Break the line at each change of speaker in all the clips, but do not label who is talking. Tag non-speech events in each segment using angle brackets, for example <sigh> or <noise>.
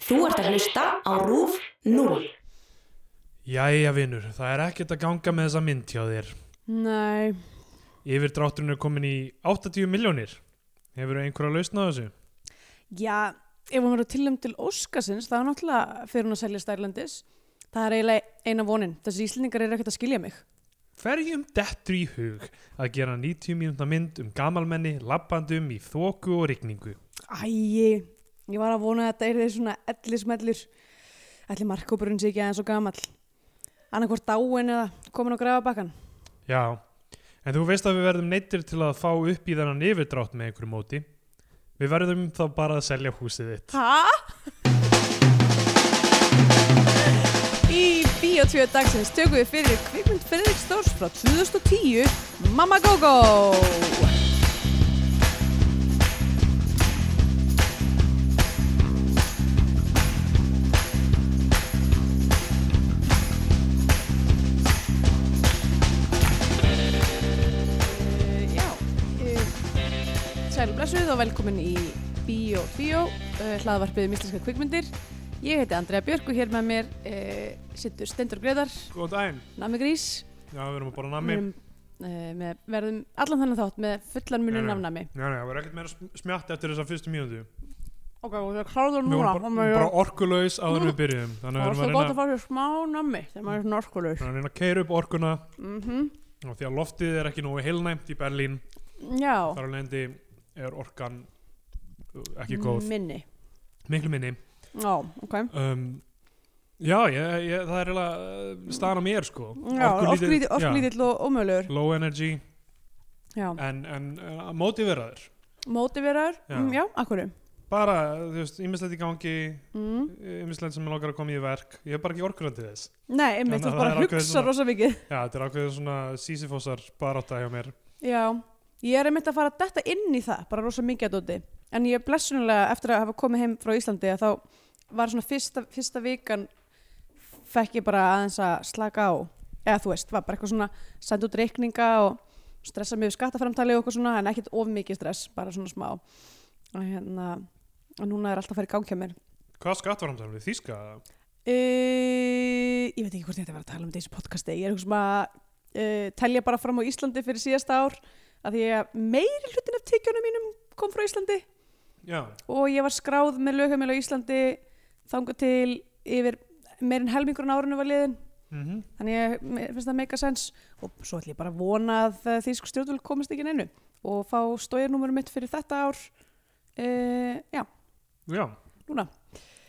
Þú ert að hlusta á RÚF 0.
Jæja vinur, það er ekkert að ganga með þessa mynd hjá þér.
Nei,
Yfir drátturinn er komin í 80 miljónir. Hefur einhverja lausn á þessu?
já, ef hún verður tilnæmt til Óskarsins, það er náttúrulega fyrir hún að selja stærlendis. Það er eiginlega eina vonin. Þessi Íslendingar eru ekkert að skilja mig.
Hverjum dettur í hug að gera 90 mínútna mynd um gamalmenni lappandum í þóku og rigningu?
Æi, ég var að vona að þetta er þeir svona ellismellir. Ætli markkópurinn sé ekki aðeins og gamall. Annarkvort dáin eða komin á grafabakkan.
Já, en þú veist að við verðum neittir til að fá upp í þennan yfirdrátt með einhverju móti. Við verðum þá bara að selja húsið þitt.
Hæ? Í Bíotvíu dagsins tökum við fyrir kvikmynd Fredrik Stórs frá 2010 Mamma Go-Go Eh, já, eh, Sæl og blessuð og velkomin í Bíó 2, uh, hlaðvarpið um íslenska kvikmyndir. Ég heiti Andrea Björk og hér með mér uh, sittur Stendur Greðar,
Góðan daginn.
Nami Grís.
Já, við erum að bara
Við
nammi.
erum, eh, með, verðum allan þannig þátt með fullan
Nei,
munin
nei.
af nami.
Já, já, við erum ekkert meira sm- smjatt eftir þessa fyrstu mínútu.
Ok, og það kláður
Við
núna.
vorum bara, bara orkulaus áður en við byrjum. Þannig að
Það var
við
svo
erum að
gott að
reyna,
fara í smá nami þegar maður er svona orkulur.
við erum að reyna að keira upp orkuna
Mm
og því að loftið er ekki nógu heilnæmt í Berlín
Já,
þar á lendi er orkan uh, ekki góð,
minni.
miklu minni
Já, ok.
um, já, ég, ég, það er eiginlega staðan á mér sko
Já,
já,
orkulítill orkulítill og ómögulegur.
low energy
Já,
en, en, en að móti verðaður
mótiveraður,
Já.
mm, já, akkurum.
bara, þú veist, ymmislegt í gangi
Mm.
ymmislegt sem er langar að koma í verk ég hef bara ekki orkunan til þess
Nei, einmitt,
Þannig
þú
að það
bara
er ákveðið
hugsa
svona-
rosa mikið.
já, þetta er ákveðið svona sísifósar barátta hjá mér
Já, ég er einmitt að fara að detta inn í það, bara rosa mikið að dóti. En ég er blessunulega eftir að hafa komið heim frá Íslandi að þá var svona fyrsta, fyrsta vikan fekk ég bara aðeins að slaka á. Eða þú veist, var bara eitthvað svona senda út reikninga og stressa mig við skattaframtali og eitthvað svona, en ekkert of mikið stress, bara svona smá. Og hérna, og núna er alltaf að fara í gang hjá mér.
hvað skatt var hann við þýska?
E, ég veit ekki hvort ég ætti að vera að tala um þessu podcasti. Ég er eitthvað svona að e, telja bara fram á Íslandi fyrir síðasta ár að því að meiri hlutin af tekjunum mínum kom frá Íslandi
já,
og ég var skráð með lögheimil á Íslandi þangað til yfir meirinn helmingurinn árinu var liðin
mhm
þannig ég mér finnst það meika sens og svo ætlum ég bara að vona að eh, þýsk stjórnvöld komist ekki neinu og fá stójarnúmurum mitt fyrir þetta ár e, já,
já
núna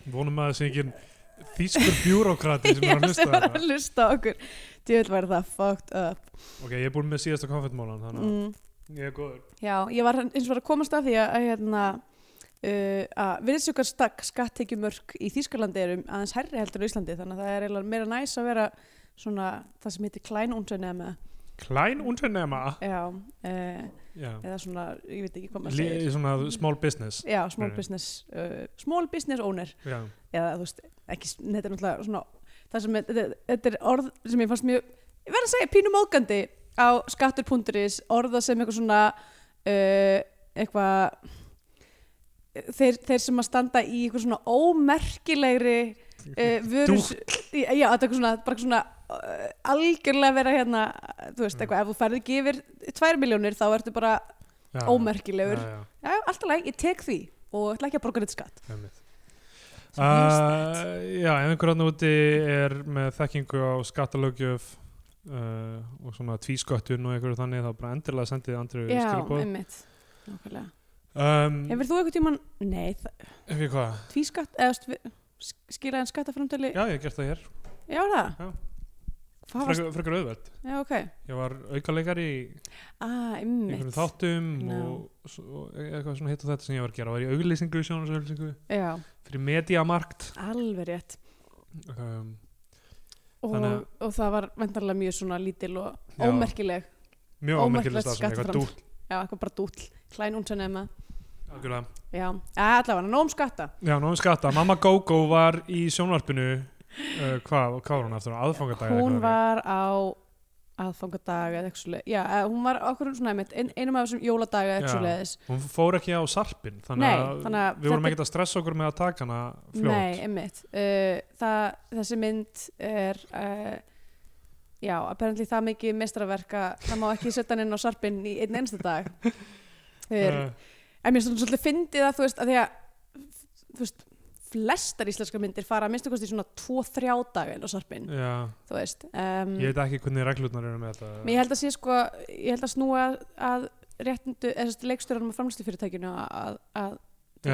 Vonum að það sé ekki þýskur bjúrókrati
<laughs>
sem er að
Já,
hlusta
sem var
þetta.
að hlusta á okkur djöfull væri það fucked up
Ok, ég er búinn með síðasta konfettmólan, þannig að
mm.
ég er góður.
Já, ég var eins og var að komast að því að, að hérna uh, að virðisökar stakk skattekjumörk í Þýskalandi eru aðeins herri heldur á Íslandi þannig að það er eiginlega meira næs að vera svona það sem heitir klænúnsen eða með
Klein unternema.
já, uh,
Já.
eða svona, ég veit ekki hvað maður
Li,
segir Mm.
svona small business.
Já, small
Nei.
business, uh, small business owner
Já.
eða þú veist, ekki, þetta er náttúrulega svona, það sem, er- þetta, þetta er orð sem ég fannst mjög, ég verð að segja pínum ógandi á skattur.is orða sem eitthvað svona uh, eitthvað þeir, þeir sem að standa í eitthvað svona ómerkilegri uh, vörus, já, já, þetta er eitthvað svona bara svona uh, algjörlega vera hérna, þú veist, eitthvað, ef þú færði ekki yfir tvær miljónir þá ertu bara
Já.
ómerkilegur,
Já, já,
já, já alltaf læg, ég tek því og ætla ekki að borga neitt skatt
einmitt.
Sem
Uh, já, ef einhver annar úti er með þekkingu á skattalögjöf uh, og svona tvísköttun og einhverju þannig, þá bara endilega sendið andru
Já,
skilbóð.
einmitt, nákvæmlega
Um,
Hefur þú eitthvað tíman, nei, það-
Ef ég hvað?
tvískatt, eða st- sk- skilaðan skattaframtali,
Já, ég hef gert það hér.
já það?
Já.
Hvað varst,
Frekar, frekar auðveld.
já ok,
Ég var aukaleikar í
ah,
í
ymmit,
einhverjum þáttum
Já.
og, s- og e- eitthvað svona hitt og þetta sem ég var að gera var í auglýsingu, sjónasauglýsingu
já,
fyrir mediamarkt
alveg rétt
um,
og,
Þannig að-
og það var vendarlega mjög svona lítil og
Já.
ómerkileg,
mjög ámerkileg
Ómerkilegt
starfsemi, eitthvað
skattframtal.
dúll
já, eitthvað bara dúll, klæn unsan ema,
algjörlega.
já, ja, allavega, nóg um skatta,
Já, náðum skatta, mamma Gogo var í sjónvarpinu uh, hvað, hvað var hún aftur, aðfangadag
hún var á aðfangadaga eða eitthvað svoleiðis. Já, eða hún var okkur svona einmitt, ein, einum af þessum jóladaga eða
Já.
eitthvað svoleiðis.
hún fór ekki á sarpin þannig,
Nei,
að,
þannig að
við vorum
þetta-
ekkert að stressa okkur með að taka hana
Nei,
fljótt
einmitt. Uh, það, þessi mynd er, uh, já, apparently það mikið mestraverka, það má ekki setja hann inn á sarpinn í einn einsta dag. Þeir,
Eh,
en mér svona svolítið fyndið að þú veist, að því að, þú veist, flestar íslenskar myndir fara að minnstu kosti svona 2-3 daga inn á sarpinn,
já,
þú veist. Um,
ég veit ekki hvernig reglurnar eru með þetta
Mér held að sé sko, ég held að snúa að réttindu, eða leikstjóranum og framlýslufyrirtækinu að, að, þú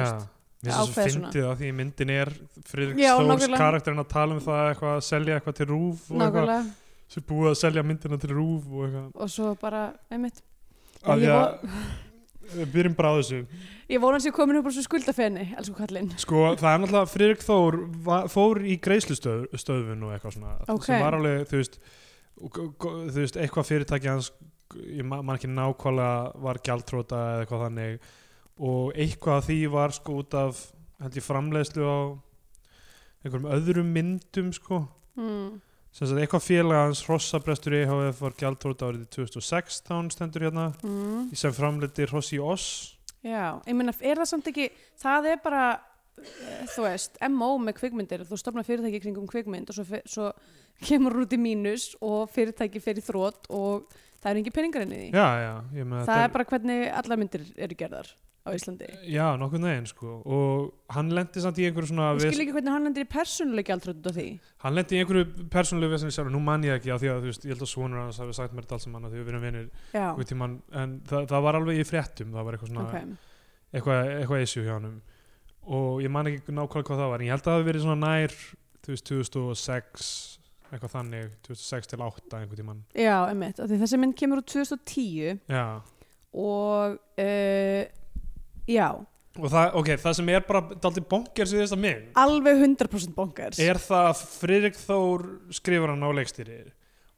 Já,
veist,
mér finnst
ákveða
það svo
svona.
fyndið að því myndin er Fridrik
Já,
Stórs
nákvæmlega.
karakterinn að tala um það eitthvað að selja eitthvað til rúf og eitthvað
nákvæmlega,
sem búið að selja myndina til rúf og eitthvað
og svo bara, einmitt.
að því
Ég
að við byrjum bara á þessu
Ég vona hans ég komin upp á svo skuldafenni, elsku kallinn.
sko það er náttúrulega Fridrik Þór va- fór í greiðslustöðun og eitthvað svona
Ok.
sem var alveg þú veist, og g- g- þú veist eitthvað fyrirtæki hans ég ma- man ekki nákvæmlega var gjaldtróta eða eitthvað þannig og eitthvað af því var sko út af held ég framleiðslu á einhverjum öðrum myndum sko
Mm.
sem sagt eitthvað félag hans Rossabrestur EHF var gjaldtróta árið 2016 stendur hérna
Mm.
sem framleiti Rossi Oss
Já, ég meina, er það samt ekki, það er bara, eh, þú veist, MO með kvikmyndir, þú stopnar fyrirtæki kringum kvikmynd og svo, fe- svo kemur út í mínus og fyrirtæki fer í þrótt og það er engin peningar inn í því.
já já ég meina,
það
þetta
er bara hvernig allar myndir eru gerðar á Íslandi.
Já, nokkuð neginn sko og hann lendi samt í einhverju svona
Ég skil
ves...
ekki hvernig hann lendir í persónuleik aldrei út af því.
hann lendi í einhverju persónulegu vesinu sér og nú man ég ekki á því að þú veist, ég held að sonur hans hafi sagt mér þetta allt saman að því við erum vinir
Já,
einhvern tímann, en það, það var alveg í fréttum það var eitthvað svona,
ok.
eitthvað, eitthvað issue hjá hann og ég man ekki nákvæmlega hvað það var en ég held að það hafi verið svona nær þú veist, 2006 eitthvað þannig, 2006 til 8 einhvern tímann
Já, emmitt. Þessi mynd kemur úr 2010
Já,
og uh, já,
og það, ok, það sem er bara daldi bonkers við þessa mynd
alveg 100% bonkers.
er það að Friðrik Þór skrifar hann á leikstýrir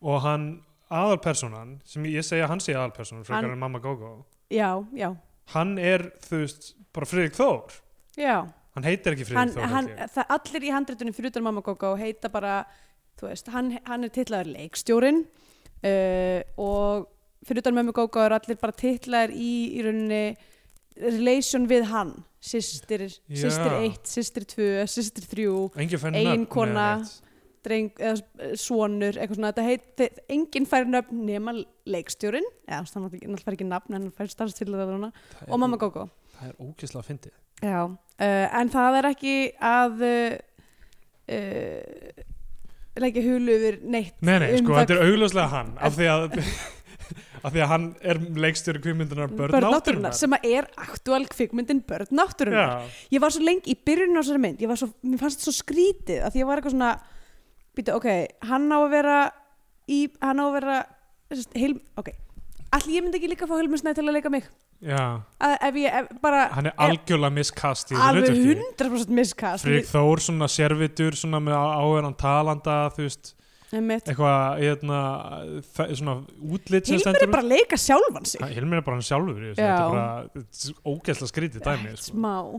og hann aðalpersonan sem ég segja að hann sé aðalpersonan frekar
Hann-
en mamma Gogo
Já, já,
hann er þú veist bara Friðrik Þór
já.
hann heitir ekki
Hann,
Friðrik Þór
hann,
hann, hann,
það, allir í handreitunum fyrir utan Mamma Gogo heita bara, þú veist, hann, hann er titlaður leikstjórin uh, og fyrir utan Mamma Gogo er allir bara titlaður í, í rauninni relation við hann. Systir,
Já.
systir 1, systir 2, systir 3
engin fenn
ein kona. dreng, eða eh, sonur, eitthvað svona, þetta heit, þe- enginn fær nöfn nema leikstjórin, eða hann náttúrulega fær ekki nafn, en hann fær starfstildaðurna og mamma Gogo.
það er ókysla að fyndi
Já, uh, en það er ekki að uh, uh, leggja hulu yfir neitt.
nei nei
um
sko
það-
þetta er augljóslega hann af því
<laughs>
að af því að hann er leikstjóri kvímyndunar börn
náttúrunnar,
átturinnar
sem að er aktúal kvikmyndin börn náttúrunnar
já,
ég var svo lengi í byrjun á þessari mynd ég var svo, mér fannst þetta svo skrítið að því ég var eitthvað svona býta, ok, hann á að vera í, hann á að vera sest, heil, ok, allir ég myndi ekki líka að fá Hilmisnæði til að leika mig
já,
að, ef ég, ef, bara,
hann er algjörlega miskast í þessu
alveg
hlutverki.
100% miskast
Friðrik Þór svona servitur svona með áverðan talanda þú veist,
Hilmir
eitthvað eitna, svona útlit sem
er
stendur
bara að leika sjálfan sig
Ha, Hilmir er bara hann sjálfur í þessu,
Já.
þetta er bara ógæsla skrítið dæmi
Eitt
sko.
smá,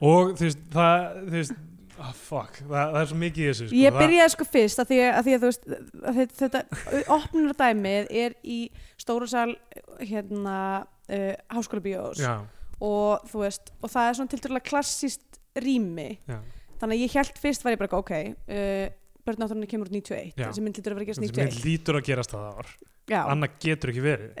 og þú veist það, þú veist, ah, fuck það, það er svo mikið í þessu sko.
ég
það-
byrjaði sko fyrst að því að, að, því að þú veist að þe- þetta opnur dæmið er í stóra sal hérna uh, háskóla bíós
já,
og þú veist, og það er svona tilturlega klassist rými,
já,
þannig að ég held fyrst var ég bara ok, uh, börn náttúrulega kemur úr 91,
Já.
þessi mynd lítur að vera að gerast
þessi mynd
91
lítur að gerast það ár
já, uh,
annað getur ekki verið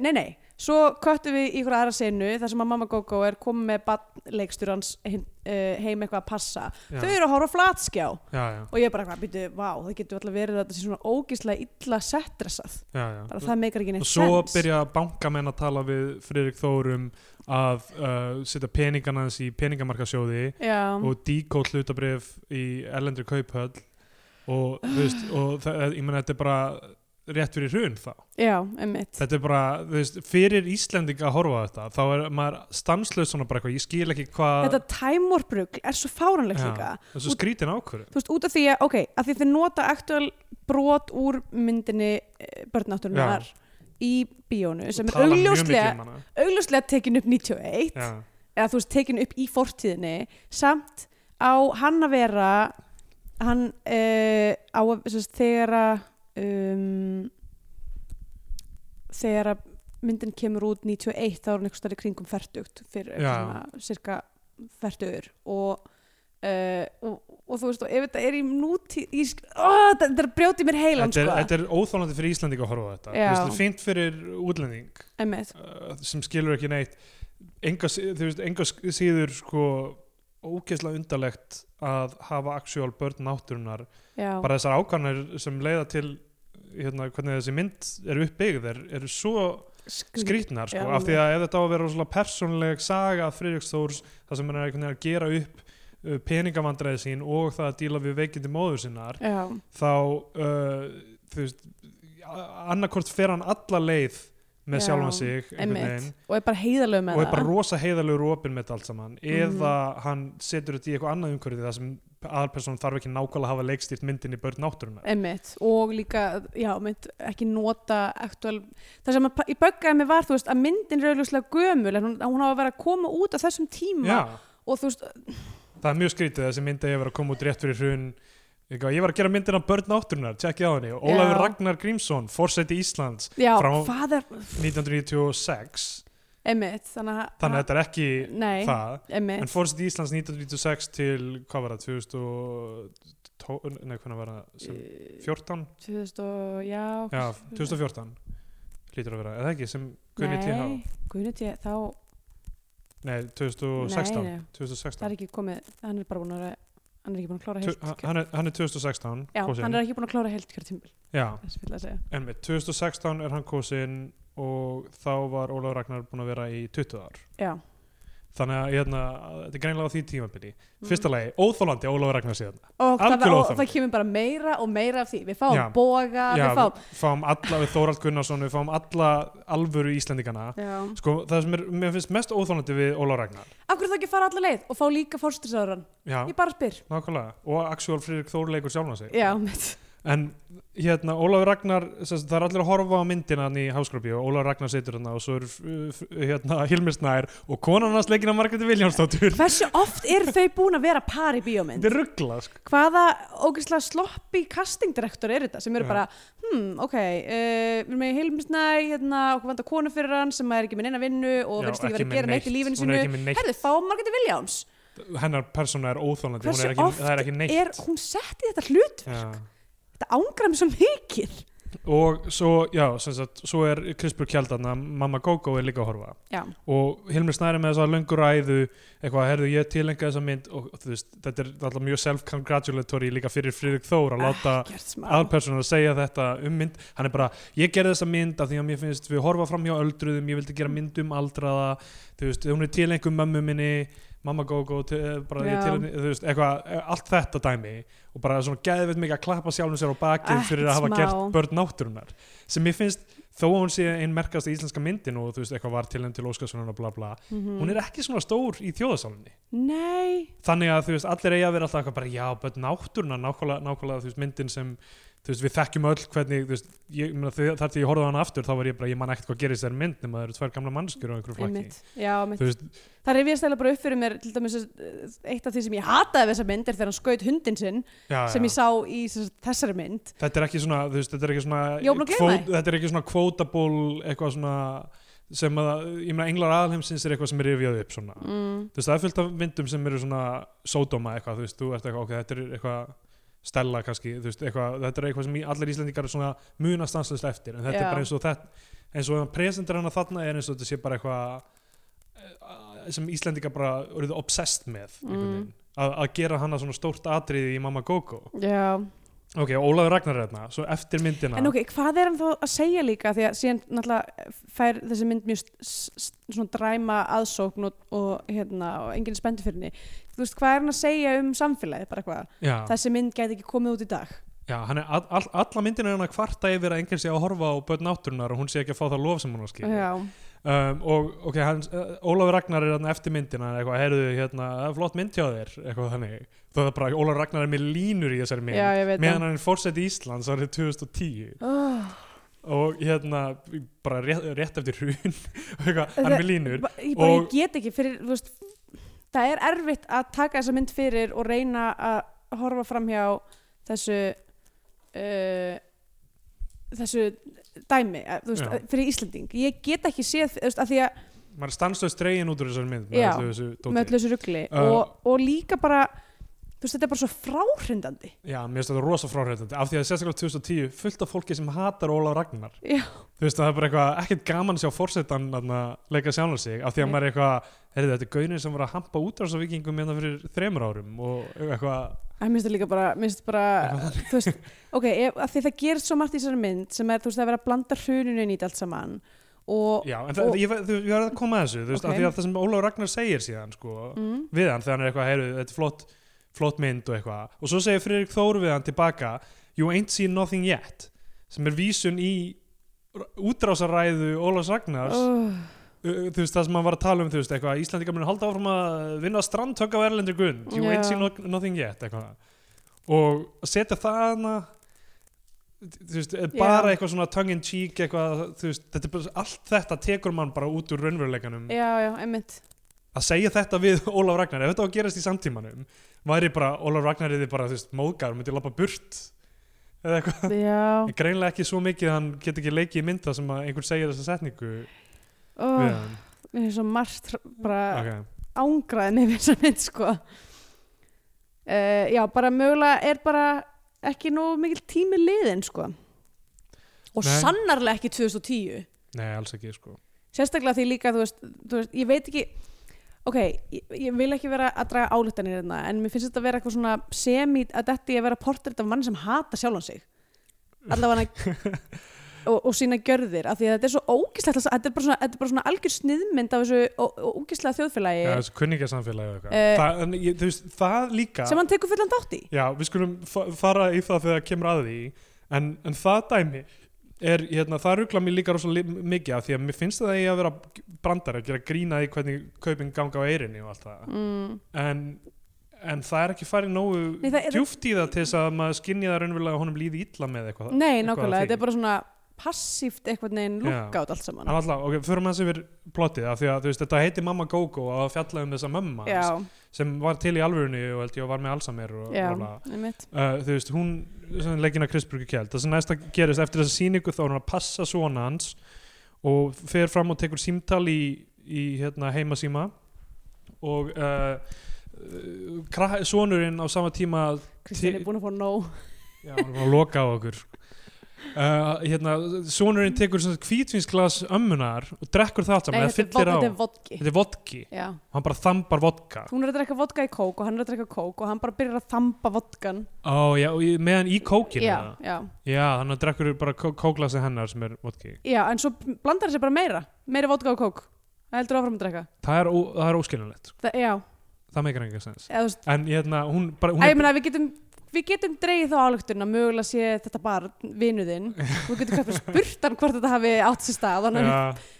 nei nei svo köttum við í ykkur aðra senu þar sem að mamma Gogo er komið með badnleikstjúrans uh, heim eitthvað að passa
já,
þau eru að horfa á flatskjá
já, já,
og ég er bara eitthvað, býtu, vá, það getur alltaf verið að þetta sé svona ógíslega illa settdressað
já,
bara
já.
það meikar ekki
og
neitt
svo
sens.
byrja bankamenn að tala við Friðrik Þór um að uh, setja peningana hans í peningamarkasjóði
já,
og díkóð hlutabrif í erlendri kauphöll og, þú
<gasps>
veist, og það, ég meina þetta er bara rétt fyrir hrun þá
já, emmitt
þetta er bara, þú veist, fyrir Íslending að horfa á þetta, þá er maður stanslaus svona bara eitthvað, ég skil ekki hvað
þetta tæmorbrugl er svo fáranlegt líka
þessu skrítin ákvörðu
þú veist, út af því að, ok, að því þeir nota aktuál brot úr myndinni börnátturinnar í bíónu sem er augljóslega,
um hana
augljóslega tekin upp 91
já,
eða þú veist, tekin upp í fortíðinni samt á hann að vera eh, hann uh, á að, sem sagt, þegar að um, þegar að myndin kemur út 91 þá er hann eitthvað stærri kringum færtugt fyrir
Já.
eitthvað svona cirka færtugur og, uh, og, og þú veist og ef þetta er í nútí í, ó, þetta, þetta er að brjóti mér heilan
þetta, er,
sko
þetta er óþólandi fyrir Íslanding að horfa á þetta
Já.
Þú veist, þetta er fínt fyrir útlending
Einmitt.
uh, sem skilur ekki neitt enga, sí- þú veist, enga sí- síður sko ógeðslega undarlegt að hafa actual börn náttúrunar
Já.
bara þessar ákvarðanir sem leiða til hérna, hvernig þessi mynd er uppbyggð er, er svo
Skrýt-
skrýtnar sko,
Já,
af því að ef þetta á að vera svona persónleg saga Friðriks Þórs það sem hann er einhvern veginn að gera upp uh, peningavandræði sín og það að díla við veikindi móður sinnar
Já.
þá uh, þú veist annarkort fer hann alla leið með
Já,
sjálfan sig einhvern
Einmitt.
veginn,
og er bara heiðalög með
og er bara
það Mhm.
rosa heiðalegur og opinn með þetta allt saman eða hann setur þetta í eitthvað annað umhverfið það sem aðalperson þarf ekki nákvæmlega að hafa leikstýrt myndin í börn náttúruna
Einmitt. og líka, já, mynd, ekki nota aktuál, það sem að- í böggaði mig var þú veist, að myndin er auðvitað gömul en hún, hún á að vera að koma út á þessum tíma
Já,
og þú veist,
það er mjög skrítið þessi mynd að ég var að koma út rétt fyrir hrun eitthvað, ég var að gera myndina börn náttúrunar, tjekkið á henni Ólafur
Já.
Ragnar Grímsson, forseti Íslands
já,
Frá-
hvað er
1996
Einmitt, þannig að
þannig að þetta er ekki
Nei,
það
einmitt,
En fórsett Íslands 1996 til, hvað var það, 2012, nei, hvernig var það, sem 14?
2000 og, já,
Já, 2014, hlýtur að vera, eða ekki, sem Gunni
nei,
TH,
Guðni TH, þá,
nei, 2016,
Nei, nei. það
2016,
er ekki komið, hann er bara búin að, vera- hann er ekki búin að klára
Tu-
heilt,
hann er, hann er 2016,
já,
kosinn.
hann er ekki búin að klára heilt kjörtímbil,
Já,
þess vil að segja,
en 2016 er hann kosinn og þá var Ólaf Ragnar búin að vera í 20 ár.
já,
Þannig að hérna, þetta er greinlega á því tímabili.
Mm.
Fyrsta lagi, óþólandi að Ólaf Ragnar síðan.
og það,
Algjörlega
og
óþarfi.
það kemur bara meira og meira af því, við fáum
Já.
boga, við fáum,
við fáum alla, við Þórald Gunnarsson, við fáum alla alvöru Íslendingana.
já,
Sko, það sem er, mér finnst mest óþólandi við Óla Ragnar.
af hverju þá ekki fara alla leið og fá líka fórstuðsáran,
Já,
ég bara spyr,
nákvæmlega. Og Axel Friðrik Þór leikur sjálfan sig.
já, mitt,
En hérna, Ólaður Ragnar, sess, það er allir að horfa á myndina hann í háskólabíu og Ólaður Ragnar situr hann og svo er f- f- hérna, Hilmir Snær og konan hans leikin að Margreti Viljánsdóttur.
hversu oft eru þau búin að vera par í bíómynd?
Þetta er ruggla, sko.
hvaða ógeðslega sloppy casting director er þetta sem eru
Já.
bara hmm, ok, uh, við erum með Hilmisnæ hérna, okkur vantar konu fyrir hann sem er ekki með neina vinnu og
Já,
verðist ekki
ekki
verið að
með
gera neitt í
neitt. Hún
lífinu
er
sinu
ekki með neitt.
herðu, fá Margeti Williams
Hennar persóna er óþólandi, hún
hversu
er ekki,
oft
það er ekki neitt.
er hún sett í þetta hlut
Já.
þetta ángra mig svo mikið
Og svo, já, sem sagt, svo er Krispur Kjaldarna, mamma Gógó er líka að horfa.
já,
og Hilmir Snæri með þess að löngu ræðu eitthvað, herðu ég tilengja þessa mynd og þú veist, þetta er alltaf mjög self-congratulatory líka fyrir Friðrik Þór að láta
gert smá
aðalpersonar að segja þetta um mynd hann er bara, ég gerði þessa mynd af því að mér finnst við horfa fram hjá öldruðum, ég vildi gera mynd um aldraða, þú veist, hún er tilengum mömmu minni, mamma gógó til- eh, bara ég
Já.
tilengja, þú veist, eitthvað eh, allt þetta dæmi og bara svona geðveit mikið að klappa sjálfum sér á bakið
Ekkert
fyrir að hafa
smá.
gert börn náttúrunar sem ég finnst, þó að hún sé einn merkast í íslenska myndin og þú veist, eitthvað var tilengja til Óskarssonar og bla bla,
Mm.
hún er ekki svona stór í þjóðasálinni
Mhm. nei,
þannig að þú veist, allir eiga að vera alltaf eitthvað bara já, börn náttúruna, nákvæmlega, nákvæmlega þú veist, myndin sem, þú veist, við þekkjum öll hvernig, þú veist, ég, mena, þar til ég horfði á hana aftur þá var ég bara, ég man ekkert hvað gerist þær mynd nema það eru tvær gamla mannskjur og einhverju flakki
einmitt já, einmitt
þú veist,
það er við að stæla bara upp fyrir mér til dæmis eh, eitt af því sem ég hataði við þessa mynd er þegar hann skaut hundin sinn
já,
sem
Ah, já.
ég sá í sem sagt, þessari mynd
þetta er ekki svona, þú veist, þetta er ekki svona
Ég var búin að gleyma því.
þetta er ekki svona quotable eitthvað svona sem að, ég meina, englar aðalheimsins er eitthvað sem er yfirjöð upp svona,
mm.
þú veist, það er fullt af myndum sem eru svona sódóma eitthvað, þú veist, þú ert eitthvað, ok, þetta er eitthvað stella kannski, þú veist, eitthvað, þetta er eitthvað sem í- allir Íslendingar svona muna stanslust eftir en þetta
Já.
er bara eins og þetta, eins og hann presentir hana þarna er eins og þetta sé bara eitthvað eh, sem Íslendingar bara eruðu obsessed með, einhvern
Mm.
veginn að, að gera hana svona stórt atriði í Mamma Gogo
já,
ok, Ólafur Ragnar er hérna, svo eftir myndina
En ok, hvað er hann þá að segja líka því að síðan náttúrulega fær þessi mynd mjög s- s- svona dræma aðsókn og, og hérna og enginn spendi fyrir henni þú veist, hvað er hann að segja um samfélagið bara eitthvað,
já,
þessi mynd gæti ekki komið út í dag
já, hann er, all, all, alla myndina er hann að kvarta yfir að enginn sé að horfa á börn náttúrunar og hún sé ekki að fá það lof sem hún á skilja um, og ok, hans, uh, Ólafur Ragnar er þarna eftir myndina hann er eitthvað, heyrðu, hérna, það er flott mynd hjá þér eitthvað þannig, það er bara, Ólafur Ragnar er með línur í þessari mynd,
já, ég veit
meðan hann er fórseti Íslands árið 2010
oh,
og hérna, bara rétt, rétt eftir hrun, <laughs> og eitthvað, hann er með línur
ég, bara,
Og-
ég get ekki fyrir, þú veist það er erfitt að taka þessa mynd fyrir og reyna að horfa framhjá þessu uh, þessu dæmi að, þú veist,
Já.
að, fyrir Íslanding ég get ekki séð, þú veist, að því að
maður er stannstöð stregin út úr þessari mynd
Já,
öllu þessu dóti.
með öllu þessu ruggli
Uh,
og, og líka bara þú veist, þetta er bara svo fráhrindandi
Já, mér finnst þetta rosa fráhrindandi af því að sérstaklega 2010 fullt af fólki sem hatar Ólaf Ragnar
Já.
þú veist það er bara eitthvað ekkert gaman að sjá fórsetan að leika sjálfan sig af því að
Nei.
maður er eitthvað, heyrðu þetta er gaunin sem var að hampa útrásavíkingum hérna fyrir þremur árum og eitthvað,
að mér finnst það líka bara, mér finnst bara
<laughs>
þú veist, ok, ef, að því það gerist svo margt í þessari mynd sem er, þú veist, það er verið að blanda hruninu inn í þetta allt saman og
já, en það,
og-
ég, var- þú- ég var að koma að þessu, þú veist,
Ok.
af því að það sem Ólaf Ragnar segir síðan, sko,
mm,
við hann þegar hann er eitthvað, heyrðu, þetta er flott flott mynd og eitthvað, og svo segir Friðrik Þór við hann tilbaka, you ain't seen nothing yet sem er vísun í útrásaræðu Ólafs Ragnars
oh,
Uh, þú veist það sem maður var að tala um þú veist eitthvað Íslandingar munir halda áfram að vinna strandtögg af erlendur grunn you
Já.
ain't seen no- nothing yet eitthvað og að setja það hana þú veist er bara
Já.
eitthvað svona tongue in cheek eitthvað þú veist þetta er bara allt þetta tekur mann bara út úr raunveruleikanum
já, já, einmitt
að segja þetta við <laughs> Ólaf Ragnar ef þetta var að gerast í samtímanum væri bara Ólaf Ragnar eða bara þú veist móðgar myndi lappa burt eða eitthvað
já,
En greinlega ekki svo mikið að hann get ekki leikið í mynda sem að einhver segir þessa setningu
oh,
við hann
mér finnst svo margt hr- bara
okay.
ángraðin yfir þessa mynd sko uh, já, bara mögulega er bara ekki nóg mikil tími liðin sko og
Nei.
sannarlega ekki 2010
nei alls ekki sko
sérstaklega því líka, þú veist, þú veist ég veit ekki ok, ég, ég vil ekki vera að draga álítanir hérna, en mér finnst þetta að vera eitthvað svona semi að þetta ég að vera portrétt af mann sem hata sjálfan sig
<laughs>
allavega og, og sína gjörðir, af því að þetta er svo ógislegt þetta er bara svona, þetta er bara svona algjör sniðmynd af þessu ó- ó- ógislega þjóðfélagi
Já, sko, þessu kunningjasamfélagi og eitthvað.
Eh,
það, en ég- þú veist, það líka,
sem hann tekur fullan þátt í
já, við skulum fa fara í það þegar það kemur að því, en, en það dæmi er, hérna, það rugla mér líka rosa li- mikið af því að mér finnst það að ég að vera brandar að gera grína í hvernig kaupin ganga á eirinni og allt það.
mm.
En, en það er ekki farið nógu
Nei, það er-
djúft í það til þess að maður skinni það raunverulega að honum líði illa með eitthvað.
nei,
eitthvað af
nákvæmlega,
því.
þetta er bara svona passíft eitthvað neginn
Já.
lukka át allt saman
En alltaf, ok, förum aðeins yfir plottið af því að þú veist, þetta heiti Mamma Gogo og að fjalla um þessa mömmu hans
já,
sem var til í alvörunni og held ég og var með Alzheimer og
já,
sko, bla, bla.
einmitt
uh, þú veist, hún sem leggina Kristburgu kjæld, það sem næsta gerist eftir þessa sýningu þá er hún að passa svona hans og fer fram og tekur símtal í, í hérna, heimasíma og uh, uh, sonurinn á sama tíma
Kristján
Ti-
er búin að fá nóg
já, hún er búin að loka á okkur uh, hérna, sonurinn tekur kvítvinsglas ömmunar og drekkur það allt
nei,
saman, eða
þetta er
fyllir á
vo- þetta er vodki
þetta er vodki,
já
og hann bara þambar vodka
hún er að drekka vodka í kók og hann er að drekka kók og hann bara byrjar að þamba vodkan
Ó, já, og í- meðan í kókinu
já,
eða?
já,
já, þannig að drekkur bara kó- kóklasi hennar sem er vodki
já, en svo blandar hann sér bara meira meira vodka og kók, það heldur áfram að drekka
það er, ó- það er óskiljanlegt sko.
það, já,
það meikar enga sens
eða þú veist,
en hérna, hún bara hún
að ég meina við getum við getum dreigið þá álugtun að mögulega sé þetta barn vinuðinn og við getum kannski spurt hann hvort þetta hafi átt sér stað hann er
ja,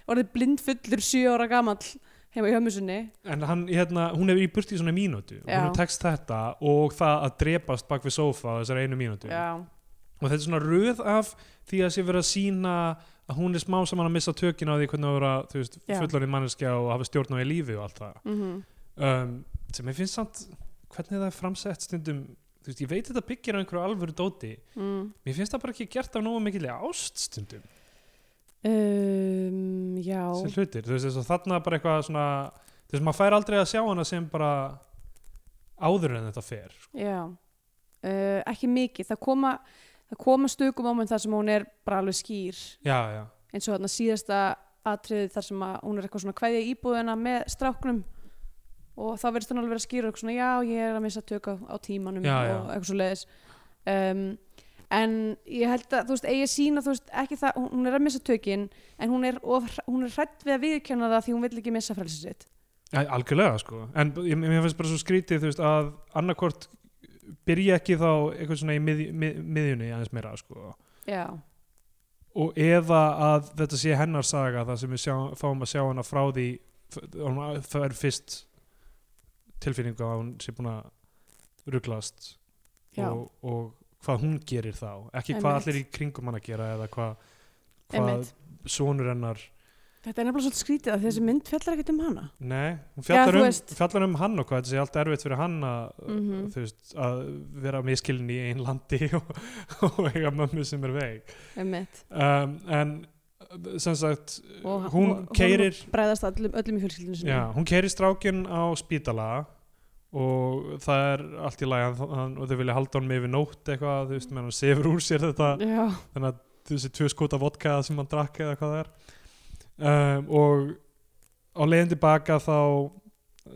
orðið blindfullur sjö ára gamall heima í hömmusunni
en hann, hérna, hún er í burti í svona mínútu og
Já.
hún tekst þetta og það að drepast bak við sófa á þessari einu mínútu
já,
og þetta er svona röð af því að sé verið að sína að hún er smá saman að missa tökin á því hvernig að vera þú veist,
Já.
fullorðin manneskja og hafa stjórn á í lífi og allt það
mm
um, sem ég finnst samt hvernig það er framsett stundum þú veist, ég veit þetta byggir á einhverju alvöru dóti
mm.
mér finnst það bara ekki gert af nógu mikillega ást stundum
Um, já
sem hlutir, þú veist, þess að þarna bara eitthvað svona, þú veist, maður fær aldrei að sjá hana sem bara áður en þetta fer sko.
Já, uh, ekki mikið. Það koma, það koma stöku moment þar sem hún er bara alveg skýr
já, já,
eins og þarna síðasta atriðið þar sem að hún er eitthvað svona kveðja íbúðina með stráknum og þá verðist hún alveg vera skýr og eitthvað svona já, ég er að missa tök á, á tímanum
Já,
og
já.
eitthvað svo leiðis. Um, en ég held að, þú veist, eigi sína, þú veist, ekki það, hún- hún er að missa tökin en hún er, of, hún er hrætt við að viðkjanna það því hún vil ekki missa frelsið sitt.
ja, algjörlega sko en b- ég, mér finnst bara svo skrítið, þú veist, að annarkvort byrja ekki þá eitthvað svona í mið, mið, miðjunni aðeins meira sko
Já,
og eða að þetta sé hennar saga það sem við sjá, fáum að sjá hana frá því f- hún á- það er fyrst tilfinningu að hún sé búin að ruglast
já.
og, og hvað hún gerir þá ekki
Einmitt.
hvað allir í kringum hann að gera eða hvað hva
Einmitt.
sonur hennar
Þetta er nefnilega svolítið skrítið að þessi mynd fjallar ekkert um hana.
Nei, hún
Já,
fjallar,
þú veist.
um, fjallar um hann og hvað þetta sé allt erfitt fyrir hann að,
Mhm.
þú veist, að vera miskilin í einn landi <laughs> og, og eiga mömmu sem er veik
Einmitt.
um, en sem sagt
Og,
hún
og-
keyrir-
honum Bregðast öllum, öllum í fjölskyldinu sinni.
já, hún keiri strákin á spítala og það er allt í lagi hann- hann- og þau vilja halda hann með yfir nótt eitthvað, þú veist, menn hann sefur úr sér þetta
Já.
þannig að þessi tvö skota vodka sem hann drakk eða hvað það er um, og á leiðin tilbaka þá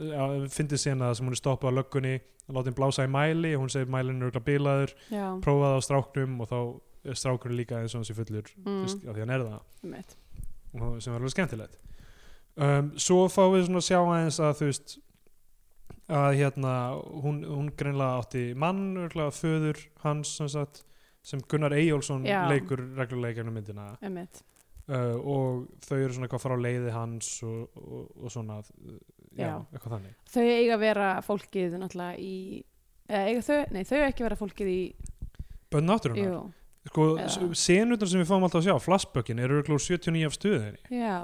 ja, fyndið síðan að sem hún er stoppað á löggunni láti hann blása í mæli og hún segir mælinn er auðvitað bilaður,
Já.
prófaði á stráknum og þá er strákurinn líka eins og hann sé fullur mm.
Mm.
veist, af því hann er það
Einmitt.
og sem var alveg skemmtilegt um, svo fáum við svona að sjá aðeins að þú veist að hérna hún, hún greinlega átti mann, örgulega föður hans sem sagt, sem Gunnar Eyjólfsson
Já.
leikur reglulega í gegnum myndina
Einmitt.
uh, og þau eru svona eitthvað að fara á leiði hans og, og, og svona uh, já,
Já.
eitthvað þannig
Þau eiga að vera fólkið náttúrulega í... Eða eiga þau... Nei, þau eiga ekki að vera fólkið í...
Bönn náttúrunar,
Jú.
sko,
Já.
senutnar sem við fáum alltaf að sjá, flashbökin eru örgulega úr 79 af stuðinni
Já.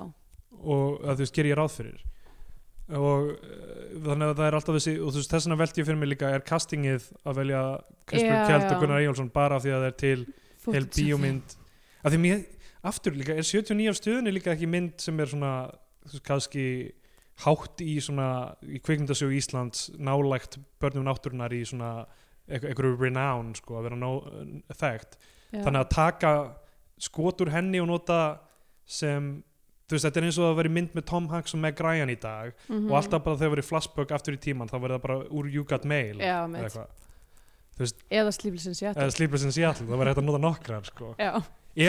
og að þú veist, ger ég ráð fyrir og uh, þannig að það er alltaf þessi og þú veist, þess vegna velti ég fyrir mig líka er castingið að velja
Já,
Kristbjörn Kjeld
já.
og Gunnar Eyjálsson bara af því að það er til
Þú-
heil bíómynd af því mér, aftur líka, er 79 af stöðunni líka ekki mynd sem er svona þú veist, kannski hátt í svona í kvikmyndasjóð Íslands nálægt börnum náttúrunar í svona einh- einhverju renown sko að vera nó, þekkt
Já.
þannig að taka skot úr henni og nota sem þú veist, þetta er eins og að vera mynd með Tom Hanks og Meg Ryan í dag
Mhm.
og alltaf bara þegar verið flashback aftur í tíman þá verið það bara úr You Got Mail
Já,
eða
einmitt.
eitthvað,
Eða slíflisins, já.
eða Sleepless in Seattle það verið hægt að nota nokkrar sko
Já.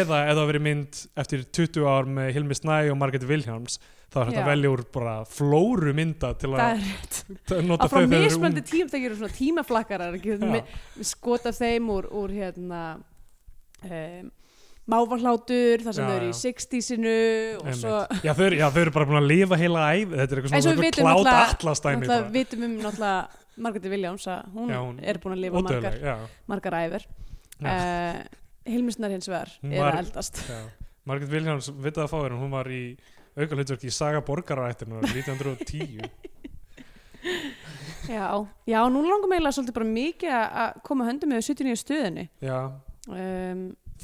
eða ef það verið mynd eftir 20 ár með Hilmi Snæ og Margaret Williams þá er hægt
Já.
að velja úr bara flóru mynda til
Það
að,
er rétt.
að nota
að
þau
frá
þegar þau eru
mismöndi
ung.
tím það eru svona tímaflakkarar ekki?
Já.
Mi- skot af þeim úr, úr hérna um, mávarhlátur þar sem
Já,
þau eru í
já.
60-sinu og svo
Einmitt. já, þau eru- já, þau eru bara búin að lifa heila æf þetta er eitthvað
Eins og
svona
við
eitthvað
vitum
klátt
náttúrulega-
allastæmi
náttúrulega vitum um náttúrulega Margreti Viljáns að hún,
Já, hún-
er búin að lifa margar,
já,
margar æver
já.
uh, Hilmisnar hins vegar
Hún
er
var-
að
<laughs>
eldast
Já. Margaret Williams vitað að fá þér hún var í aukalutverki í Saga borgararættinunar 1910
já, já, nú langar mig eiginlega svolítið bara mikið að- að koma höndum með 79 stöðinni
já,
um,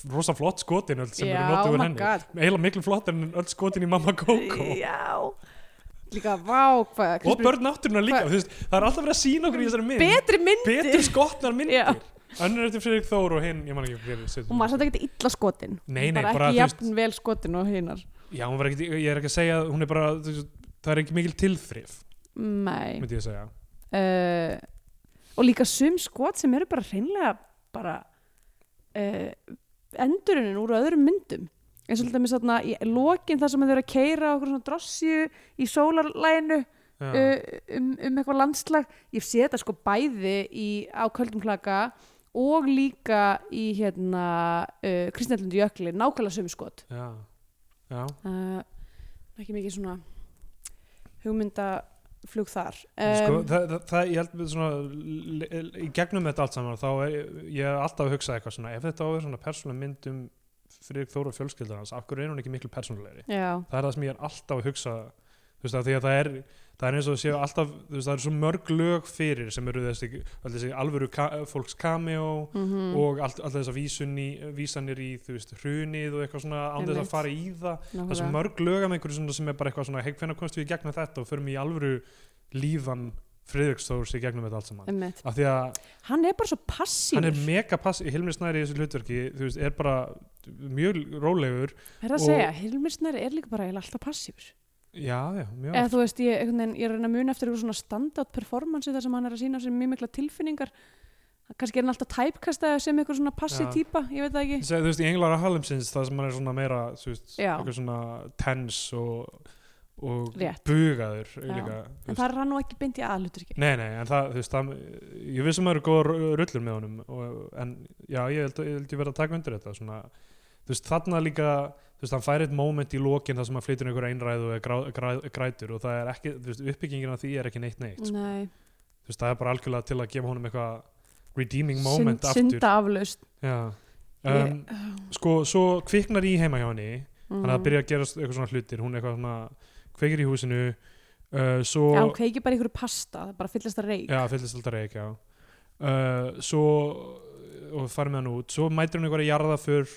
rosa flott skotin öll sem
já, oh
eru notið úr
my
henni
god
eiginlega miklu flott en öll skotin í Mamma Coco
já líka vá hvað
og börn náttúruna líka
Hva-
þú veist, það er alltaf verið að sína okkur í þessari mynd
betri myndir
betur skotnar myndir
Já.
önnur eftir Friðrik Þór og hinn ég man ekki fyrir
og maður satt ekkert illa skotin
Nei, nei,
bara,
bara, þú
ekki
veist-
jafn vel skotin og hinnar
já, hún var ekki, ég er ekki að segja hún er bara, þú veist, það er ekki mikil tilþrif
nei
myndi ég segja
uh, og líka sum skot sem eru bara hreinlega bara uh, endurunin úr öðrum myndum eins og þetta með svona í lokin þar sem þau eru að keira okkur svona drossju í sólarlæginu
já,
uh, um, um eitthvað landslag ég sé þetta sko bæði í, á köldum klaka og líka í hérna uh, Kristjallundu jökli, nákvæmlega sum skot
já, já,
uh, ekki mikið svona hugmyndaflug þar
sko,
Em,
það, það, það, ég held við svona le- le- í gegnum þetta allt saman þá er, ég er alltaf að hugsa eitthvað svona ef þetta á að vera svona persónuleg mynd um Friðrik Þór og fjölskyldan hans, af hverju er hún ekki miklu persónulegri
já,
það er það sem ég er alltaf að hugsa þú veist, af því að það er það er eins og séu alltaf, þú veist, það eru svo mörg lög fyrir sem eru þessi, öll þessi alvöru ka fólks cameo
mhm,
og allt, allt þess að vísunni, vísanir í þú veist, hrunið og eitthvað svona án þess
Einmitt.
að fara í það, það er svo
nákvæmlega.
mörg lög af einhverju svona sem er bara eitthvað svona, hei, hvenær komst við í gegnum þetta og förum í alvöru lífan Friðrikstórs í gegnum þetta allt saman
Einmitt.
af því að
hann er bara svo passív
hann er mega pass Hilmi Snæri í þessu hlutverki, þú veist, er bara mjög rólegur,
er að
og-
segja, Hilmir Snæri er líka bara eiginlega alltaf passív
já, já, mjög
eða þú veist, ég, einhvern veginn, ég er að reyna að muna eftir eitthvað svona standout performance þar sem hann er að sína sér mjög mikla tilfinningar kannski er hann alltaf tæpkastaði sem eitthvað svona passív
Já.
típa, ég veit það ekki
Seg, þú veist, í Englar að Hallimsins það sem hann er svona meira þú veist,
Já.
eitthvað svona tens og, og
Rétt.
bugaður
Já.
líka, þú
en
veist.
það er hann nú ekki beint í aðlutur ekki
Nei, nei, en það, þú veist, það, ég vissum að eru góða rullur með honum og, en já, ég held, ég held ég verið að taka undir þetta svona, þú veist, þarna líka þú veist, hann fær eitt moment í lokin þar sem hann flytur inn einhver einræð og er grá, grá, grætur og það er ekki, þú veist, uppbyggingin af því er ekki neitt neitt, sko.
Nei,
þú veist, það er bara algjörlega til að gefa honum eitthvað redeeming
synd,
moment aftur
synda aflaust
Já, um, sko, svo kviknar í heima hjá henni þannig að
Mm.
það byrja að gerast eitthvað svona hlutir hún eitthvað svona kveikir í húsinu uh, svo
Já, ok, ekki bara ykkur pasta, það bara fyllist að reik
já, fyllist alltaf reik já. Uh, svo og farið með hann út, svo mætir hún eitthvað jarðaför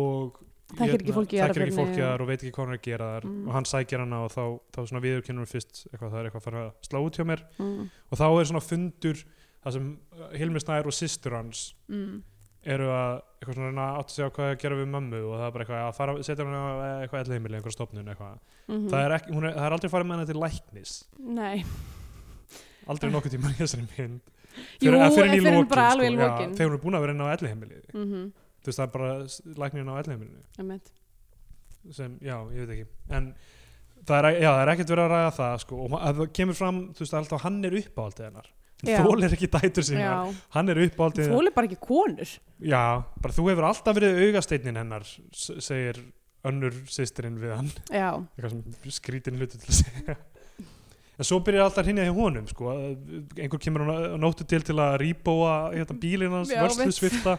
og
Þekkir ekki
þekkir ekki
fólkið í jarðarförinni,
fólkið
já.
þar og veit ekki hvað hann er að gera þar
Mm.
og hann sækir hana og þá, þá svona viðurkennur hún fyrst eitthvað, það er eitthvað farið að slá út hjá mér
mm.
og þá er svona fundur það sem uh, Hilmir Snær og systur hans
Mm.
eru að eitthvað svona reyna að átta sig á hvað að gera við mömmu og það er bara eitthvað að fara, setja hann á eh, eitthvað ellheimili, einhverja stofnun eitthvað
Mm.
það, er ekki, hún er, það er aldrei farið með hana til læknis
Nei,
aldrei nokkuð tíma í þessari mynd
Ah. jú,
eh,
en
en
fyrir hún bara alveg
sko,
í
já,
lókin
þegar hún er búin að vera inn á ellheimili
Mhm,
þú veist það er bara s- læknirinn á ellheimilinu
einmitt.
sem, já, ég veit ekki en það er, já, það er ekkert verið að ræða það sko, og ma- að það kemur fram, þú veist, alltaf hann er uppáhaldið hennar
Já.
þólir ekki dætur sína,
Já,
hann er uppáhaldið
þóli bara ekki konur
Já, bara þú hefur alltaf verið augasteinin hennar, s- segir önnur sýstirinn við hann,
Já,
eitthvað sem skrítin hluti til að segja. En svo byrjar alltaf hinn í honum, sko, að einhver kemur á nóttu til til að rýbóa hérna, bílinn hans,
Já, mitt.
vörslusvifta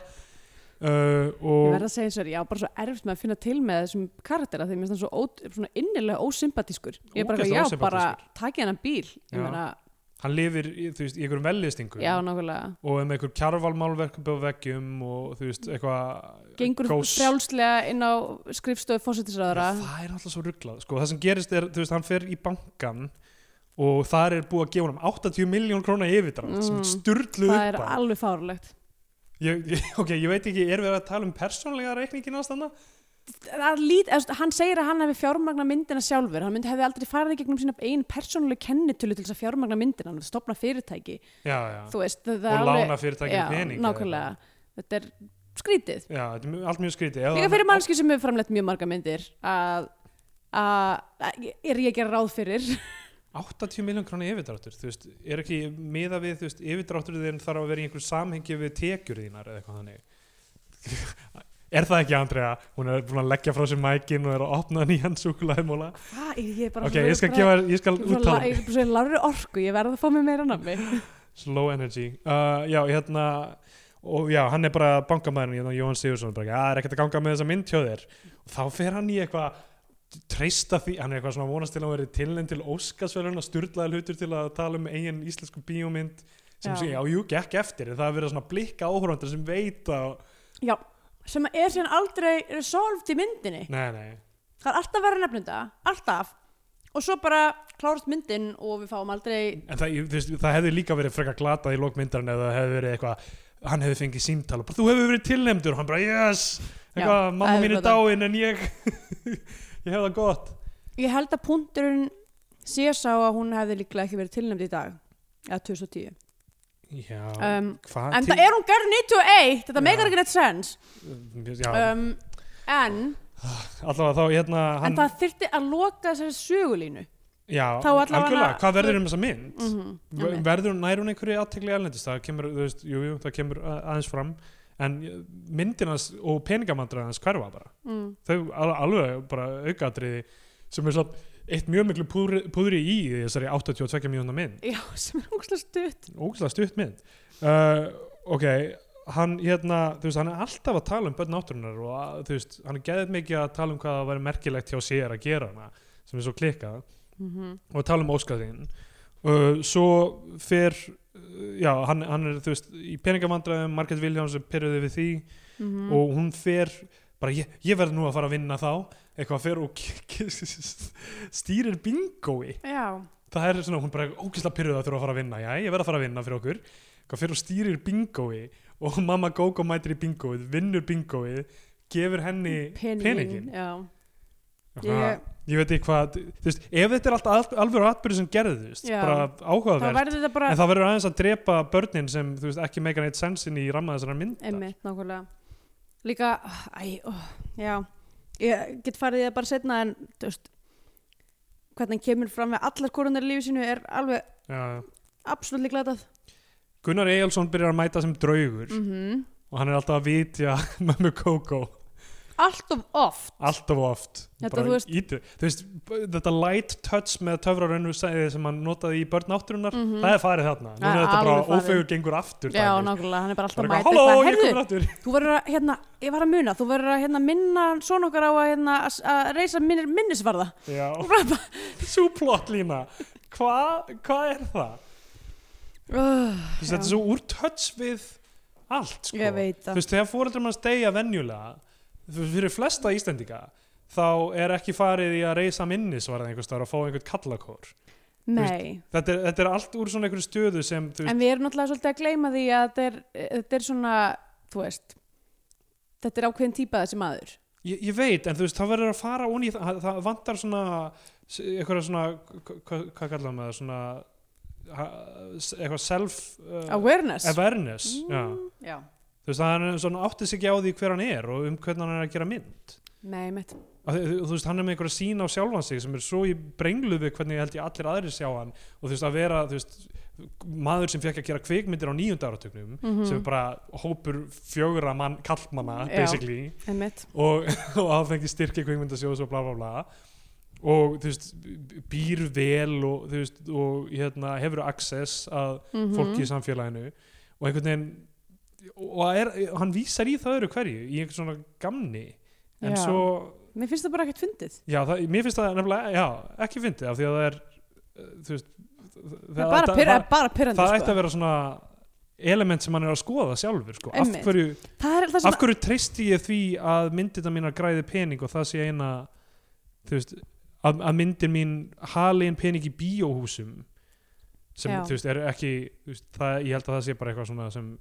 uh,
ég
og
verð að segja eins og þér, já, bara svo erfitt með að finna til með þessum karaktera því mér finnst hann svo, ó, svona innilega ósympatískur Ég er bara,
Ógeðslega
eitthvað, já, bara
ósympatískur.
takið hennan bíl Ég
Já.
meina,
hann lifir í, þú veist, í einhverjum vellistingum
já, nákvæmlega
og um einhver kjarvalmálverk upp á veggjum og þú veist, eitthvað
gengur
gós-
frjálslega inn á skrifstöðu
Já,
fósættisraðara
það er alltaf svo rugglað sko. það sem gerist er, þú veist, hann fer í bankan og þar er búið að gefa hann 80 miljón króna yfirdrátt sem
Mm.
er styrlu
það er
upp á
alveg fárlegt
ég, ég, <laughs> ok, ég veit ekki, er við að tala um persónlega reikningin aðstanna?
Það lít, eða, þú veist, hann segir að hann hefði fjármagna myndina sjálfur hann myndi hefði aldrei farið í gegnum sína einn persónuleg kennitölu til þess að fjármagna myndina hann hefði stopnað fyrirtæki
Já, já,
þú veist, það, það
og
er
lána fyrirtækinu
já,
pening eða eitthvað.
nákvæmlega, þetta er skrítið
Já, þetta er mjög- allt mjög skrítið Ef
líka
hann-
fyrir mannski sem hefur framlegt mjög marga myndir að, að að- er ég að gera ráð fyrir
80 miljón króna yfirdráttur, þú veist, er ekki miða við, þú veist, yfirdráttur þinn þarf að vera í einhverju samhengi við tekjur þínar eða eitthvað þannig <laughs> Er það ekki, Andrea? Hún er búin að leggja frá sér mækin og er að opna nýjan súkulæðmóla
hvað er ég bara
Ok, ég skal gefa, ég skal úttala mig.
úttala lári orku, ég verð að fá mér meira nammi
Slow energy uh, Já, hérna og já, hann er bara bankamæðurinn hérna, Jóhann Sigursson bara, "Já, það er ekkert að ganga með þessa mynd hjá þér og þá fer hann í eitthvað treysta því, hann er eitthvað svona að vonast til að hann verið tilnend til Óskarsverðun og styrlaði hlutur til að tala um eigin íslensku bíómynd sem
Já.
sé, já, jú, gekk eftir en það er verið að svona blikka áhórandur sem veit að
já, sem er síðan aldrei resolved í myndinni
nei, nei,
það er alltaf verið að nefna þetta, alltaf og svo bara klárast myndin og við fáum aldrei
en það, ég- þú veist, það hefði líka verið frekar glatað í lokmyndarinn eða það hefði verið eitthvað hann hefði fengið símtal og bara, þú hefur verið tilnefndur og hann bara, yes, eitthvað,
Já,
mamma
það
mín
hefði
er
glatað.
dáin en ég <laughs> ég hef það gott
ég held að punkturinn sé sá að hún hefði líklega ekki verið tilnæmd í dag eða 2010
Já,
um,
hvað
en það er hún gerð 98 þetta
Já.
meikar ekki neitt sens
Já,
um, en,
allavega þá hérna hann,
en það þyrfti að loka þessari sögulínu
Já,
þá allavega
algjörlega,
hana-
hvað verður um þessa mynd?
mm -hmm,
Mm, verður hún, nær hún einhverju aðtegli erlendist? Það kemur, þú veist, jú, jú, það kemur a- aðeins fram En myndinans og peningamandræðans hverfa bara
mm,
Þau al- alveg bara aukaðriði sem er svona eitt mjög miklu púðri, púðri í í þessari 82 mjóna mynd
já, sem er ógslag stutt
ógæslega stutt mynd uh, ok, hann hérna þú veist, hann er alltaf að tala um börn átturinnar og að, þú veist, hann er geðið mikið að tala um hvað það væri merkilegt hjá sér að gera hana sem er svo klikkað
mm -hmm.
og tala um óskaðin uh, svo fer uh, já, hann, hann er þú veist í peningamandræðum, Margaret Williams er pyrruði við því og hún fer bara ég, ég verð nú að fara að vinna þá eitthvað fer og <laughs> stýrir bingói
já,
það er svona, hún bara ógislega pyrruð að þurfa að fara að vinna já, ég verð að fara að vinna fyrir okkur hvað fyrir og stýrir bingói og mamma Gógó mætir í bingóið, vinnur bingóið gefur henni
peningin,
peningin
já,
Ha, ég veit ekki hvað, þú veist ef þetta er allt al- alvöru atbyrðu sem gerðist
Já.
bara
þá
áhugavert,
verður þetta bara
en það verður aðeins að drepa börnin sem, þú veist, ekki meika neitt sensin í ramma þessara mynda
Einmitt, nákvæmlega. Líka, ah, æ, ó, já, ég get farið í það bara setna en, þú veist, hvernig hann kemur fram með allar korunar í lífi sínu er alveg
Já.
absolutt glatað.
Gunnar Egilson byrjar að mæta sem draugur
Mm -hmm.
<laughs> og hann er alltaf að vitja mömmu Gógó
allt of oft
alltaf og oft
Þetta,
Bara
þú veist-
ítrek- þú veist, b- þetta light touch með töfrarönnu sem hann notaði í börn átturinnar það er farið þarna, núna
Það
er
er
þetta
Mhm. alveg
bara
farið.
ófegur gengur aftur
Já,
dæmi.
nákvæmlega, hann er bara alltaf
bara
mætt
eitthvað, halló, ég
Herðu,
komur aftur <laughs>
þú verður að, hérna, ég var að muna Þú verður að, hérna, minna svona okkar á að, hérna, að- að reysa minnir, minnisvarða
já,
Bara-
svo plottlína hvað hva er það?
Ugh,
Þú veist, þetta er svo úr touch við allt sko.
Ég veit
þú
það
veist, þegar fóreldrar manns deyja venjulega þú veist, fyrir flesta Íslendinga þá er ekki farið í að reysa minnisvarða einhvers staðar og fá einhvern kallakór
Nei,
þetta er, þetta er allt úr svona einhverju stöðu sem þú veist,
en við erum náttúrulega svolítið að gleyma því að þetta er, þetta er svona, þú veist Þetta er ákveðin típa þessi maður
ég, ég veit, en þú veist, það verður að fara ón í það, það vantar svona s- einhverja svona, hva- hvað hva kallar maður svona ha- s- eitthvað self uh,
Awareness Mm.
awareness já.
Já,
þú veist, það er svona áttið sig ekki á því hver hann er og um hvernig hann er að gera mynd
nei, mitt
Af því- þú veist, hann er með einhverja sín á sjálfan sig sem er svo í brenglu við hvernig ég held ég allir aðrir sjá hann og þú veist, að vera, þú veist maður sem fekk að gera kvikmyndir á nýjunda áratugnum sem er bara hópur fjögurra mann, kallmanna,
Mhm. Já.
basically
En mitt
og, <laughs> og hann fengi styrki kvikmyndasjóðs og bla bla bla og þú veist, býr vel og þú veist, og hérna hefur access að fólki í
Mhm.
samfélaginu og einhvern veginn og er, hann vísar í það öru hverju í einhvern svona gamni en
Já.
svo,
Mér finnst það bara ekkert fyndið
já, það, mér finnst það nefnilega, já, ekki fyndið af því að það er uh, þú veist,
Það er bara, pyrra,
það,
bara pyrrandi
það
sko.
ætti að vera svona element sem hann er að skoða sjálfur sko. af,
Einmitt.
hverju,
Það er það sem
af hverju treysti ég því að myndina mínar græði pening og það sé eina þú veist, að, að myndin mín hali einn pening í bíóhúsum sem
Já.
þú veist er ekki þú veist, það, ég held að það sé bara eitthvað svona sem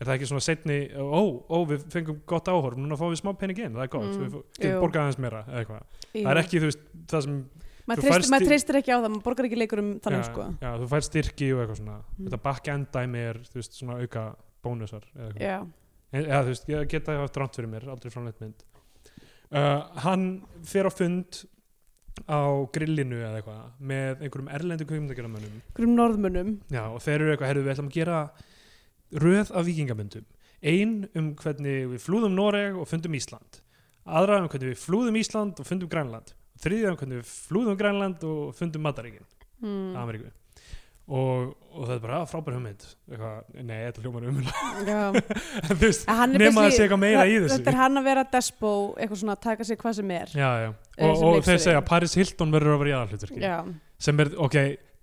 er það ekki svona setni ó, ó við fengum gott áhorf, núna fáum við smá pening inn það er gott,
Mm,
við, fó- við
jú.
borgaði aðeins meira eða eitthvað, það er ekki þú veist það sem
maður
þú
treystir
færst í-
maður treystir ekki á það, maður borgar ekki leikur um þannig
já,
sko
já, þú fær styrki og eitthvað svona
Mm.
þetta back-end dæmi er þú veist svona auka bónusar eða eitthvað
já,
En- eða Eh, þú veist, ég geta haft rámt fyrir mér aldrei framleitt mynd uh, hann fer á fund á grillinu eða eitthvað með einhverjum erlendu kvikmyndagerðamönnum
hverjum norðmunum
já, og þeir eru eitthvað, herðu við ætlum að gera röð af vikingamyndum ein um hvernig við flúðum Noreg og fundum Ísland aðra um hvernig við flúðum Ísland og fundum Grænland þriðja um hvernig við flúðum Grænland og fundum Mataríkin
mm.
Ameríku og, og það er bara "Ah, frábær hugmynd eitthvað, nei, þetta hljómar umhund
já,
<laughs> þú veist,
hann er
nema að
basically-
sé eitthvað meira í þessu
þetta er hann að vera despo, eitthvað svona að taka sér hvað sem er
já, já. og,
Eh, sem
og þeir
leikstjóri.
segja Paris Hilton verður að vera í aðalhlutverki
já,
sem er, ok,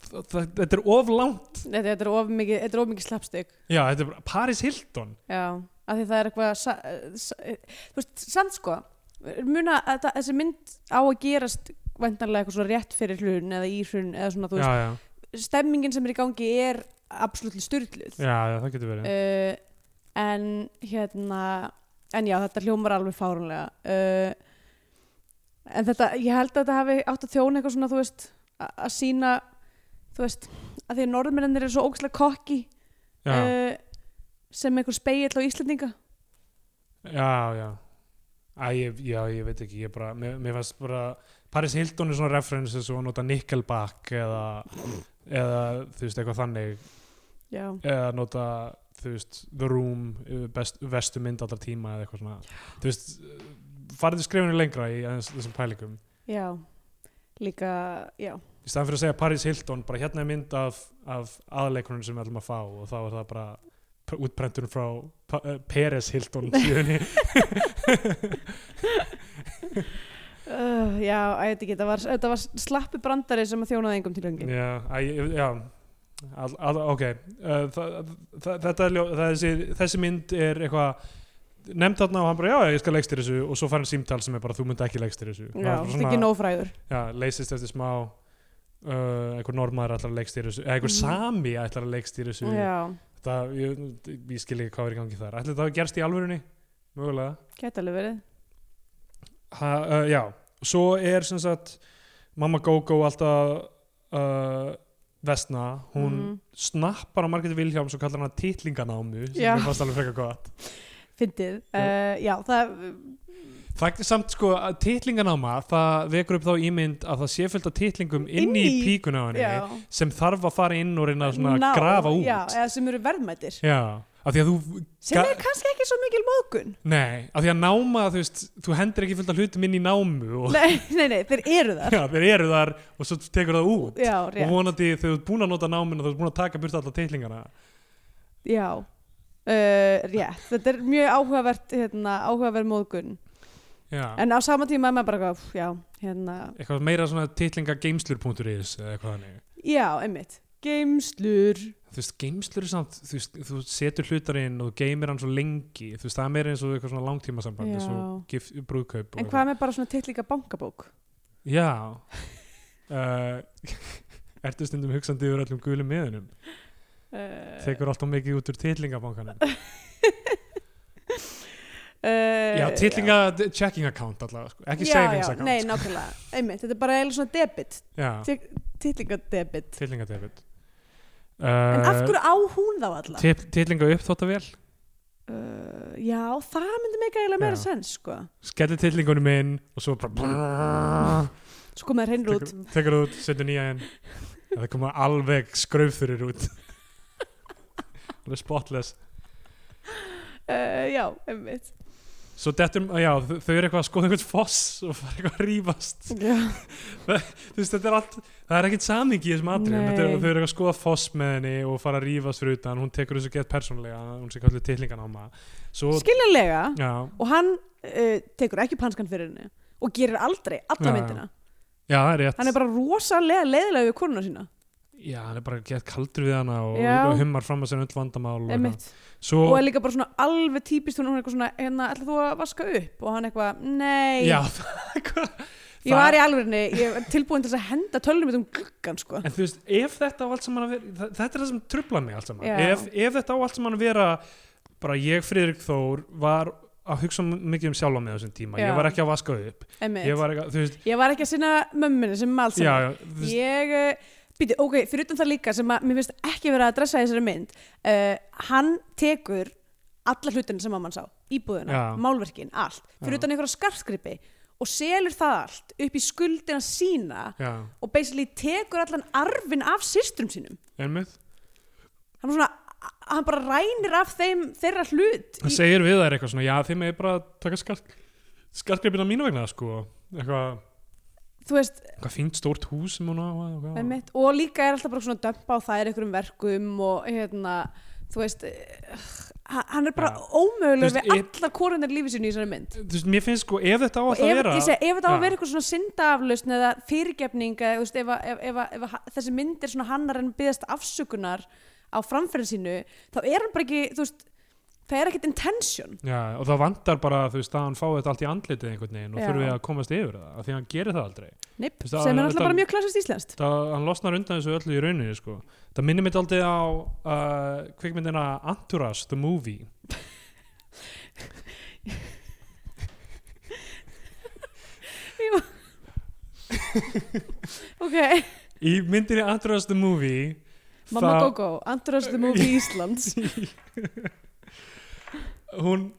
þ- þ- þetta er of langt
þetta, þetta er of mikið þetta er of mikið slappstygg
já, þetta er bara Paris Hilton
já, af því það er eitthvað sa, sa, þú veist, samt sko muna að þetta- þessi mynd á að gerast væntanlega eitthvað svona rétt fyrir hlun eða í hlun eða svona, þú
já,
veist,
já,
stemmingin sem er í gangi er absolutt styrluð
já, já, það getur verið
uh, en hérna en já þetta hljómar alveg fárunlega uh, en þetta ég held að þetta hafi átt að þjóna eitthvað svona þú veist a- að sína þú veist að því að norðmennir eru svo ógæslega kokki
já,
uh, sem einhver speill á Íslendinga
já, já Æ, ég, já, ég veit ekki, ég bara mér, mér fannst bara, Paris Hilton er svona reference eins og að nota Nickelback eða, eða, þú veist, eitthvað þannig
já,
eða nota, þú veist, The Room eh, best, vestu mynd allra tíma eða eitthvað svona, þú veist eh, farðu skrifinu lengra í aðeins þessum pælingum
já líka, já,
í staðan fyrir að segja Paris Hilton bara hérna er mynd af, af aðleikunum sem við ætlum að fá og þá er það bara p- útprenturinn frá pa uh, Peres Hilton
<laughs>
síðunni
uh, já, að þetta geta var, þetta var slappi brandari sem að þjónaði engum til engin
já, æ, ég- já all, all, ok uh, það, það, þetta er ljó, þessi, þessi mynd er eitthvað nefnd þarna og hann bara já, já, ég skal leggst þessu og svo fær hann símtal sem er bara þú myndi ekki leggst þessu Og
já,
hann bara
þetta er ekki nófræður
já, leysist eftir smá uh, einhver normaður ætlar að leggst þessu eða einhver sami ætlar að leggst þessu
Mhm. já,
Það, ég, ég skil ekki hvað er í gangi þar Ætli það gerst í alvörunni? Mögulega
geta alveg verið
ha, uh, Já, svo er sem sagt Mamma Gogo alltaf uh, Vesna Hún
Mhm.
snappar á Margreti Vilhjálms og kallar hana titlinganámu sem
Já.
mér fannst alveg frekar gott
fyndið,
Já.
uh, já, það
Það er samt sko að titlinganáma það vekur upp þá ímynd að það sé fullt af titlingum inni í
Inni í-
píkuna á henni
já
sem þarf að fara inn og reyna svona að
Ná,
grafa út
já, eða sem eru verðmætir
Já, af því að þú
sem
Ga-
er kannski ekki svo mikil móðgun
nei, af því að náma, þú veist þú hendur ekki fullt af hlutum inn í námu og <laughs>
nei, nei, nei, þeir eru þar
já, þeir eru þar og svo tekur það út
já,
og
rétt,
vonandi þegar þú ert búin að nota náminu þú ert búin að taka burt alla teitlingana
já uh, rétt, þetta er mjög áhugavert hérna, áhugaverð móðgun
já.
en á sama tíma er maður bara eitthvað, "Pff, já, hérna
eitthvað meira svona titlingageimslur.is eða eitthvað þannig
já, einmitt, geimslur
þú veist, geimslur er samt þú, veist, þú setur hlutarinn og þú geimir hann svo lengi þú veist, það er meira eins og eitthvað svona langtíma samband eins og
Já.
gif, brúðkaup og
en hvað með bara svona tittlíka bankabók
eitthvað. já <laughs> uh, <laughs> ertu stundum hugsandi yfir öllum gulum miðunum
uh,
tekur alltaf mikið út úr titlingabankanum
uh,
já, titlinga checking account allavega, sko. ekki
já,
savings
já,
account
Nei, nákvæmlega, einmitt, þetta er bara eiginlega svona debit
já,
Tittlingadebit
titlingadebit
En af
uh,
hverju á hún þá alla?
titlinga uppþóttavél
Uh, já, það myndi mig eiginlega meira
Já.
sens sko.
skellir titlingunum inn og svo bara
Sko maður reynir út
tekur, tekur það út, setur nýja inn En það koma alveg skraufþurir út alveg spotless
uh, Já, einmitt
svo dettum, já, þau þau eru eitthvað að skoða einhvern foss og fara eitthvað að rífast
já.
þú veist, þetta er allt það er ekkert samingi í þessum atriðum
Nei.
Þetta eru- þau eru eitthvað að skoða foss með henni og fara að rífast fyrir utan, hún tekur þessu gett persónlega hún sé kallið tillinganáma svo,
Skiljanlega
já,
Og hann uh, tekur ekki panskan fyrir henni Og gerir aldrei
Já,
alla myndina
já, það er rétt
Hann er bara rosalega leiðilega við konuna sína
já, hann er bara gett kaldur við hana og,
Já.
og hummar fram að sér öll vandamál og eitthvað.
Einmitt
svo,
Og er líka bara svona alveg típist Hún er eitthvað svona, hérna, ætla þú að vaska upp Og hann eitthvað, nei
já, <laughs> það er hvað
Ég var í alvegni, ég er tilbúin til þess að henda tölnum mitt um gluggan sko.
En þú veist, ef þetta á allt saman að vera, þa- þetta er það sem trubla mig allt saman,
Já.
ef, ef þetta á allt saman að vera, bara ég, Friðrik Þór, var að hugsa mikið um sjálfa mig á þessum tíma,
Já.
ég var ekki að vaska upp,
Einmitt.
ég var ekki að, þú veist,
Ég var ekki að sinna mömmunni sem alls
já, já, þú veist,
Ég, býti, ok, fyrir utan það líka sem að mér finnst ekki verið að dressa í þessari mynd uh, hann tekur alla hlutinu sem mamman sá, íbúðuna
Já.
málverkin, allt,
Já.
fyrir utan einhverja skarfskripi og selur það allt upp í skuldina sína
já,
og basically tekur allan arfin af systrum sínum,
einmitt,
hann er svona hann bara rænir af þeim þeirra hlut
það segir við þær eitthvað svona, já, þið með bara að taka skark, skarkreipina mínu vegna, sko, eitthvað,
þú veist,
eitthvað fínt stórt hús sem hún á, eitthvað,
Einmitt. og líka er alltaf bara svona að dömpa á þær einhverjum verkum og hérna þú veist eh, h- hann er bara
Já.
ómögulegur
Þú veist,
við allar korunar lífi sínu í þessari mynd
þú veist, mér finnst sko, ef þetta á
og
allt að
ef,
vera,
ég segi, ef þetta á
Já.
að vera eitthvað svona syndaaflausn eða fyrirgefning eða, þú veist, ef, að- ef, ef, að- ef, ef þessi mynd er svona hannar en byggðast afsökunar á framferðin sínu þá er hann bara ekki, þú veist það er ekkit intention
já, og það vantar bara, þú veist, að hann fái þetta allt í andlitið einhvern veginn og
Já.
þurfi að komast yfir það, af því að hann gerir það aldrei.
Neip,
Þú veist,
sem er
það-
alltaf
þetta-
bara mjög klassist íslenskt
það, hann losnar undan þessu öllu í rauninni sko. það minnir mitt aldrei á uh, kvikmyndina Entourage the Movie
ok,
í myndinni Entourage the Movie
Mamma
þá-
Gogo, Andras the Movie Íslands
<laughs> hún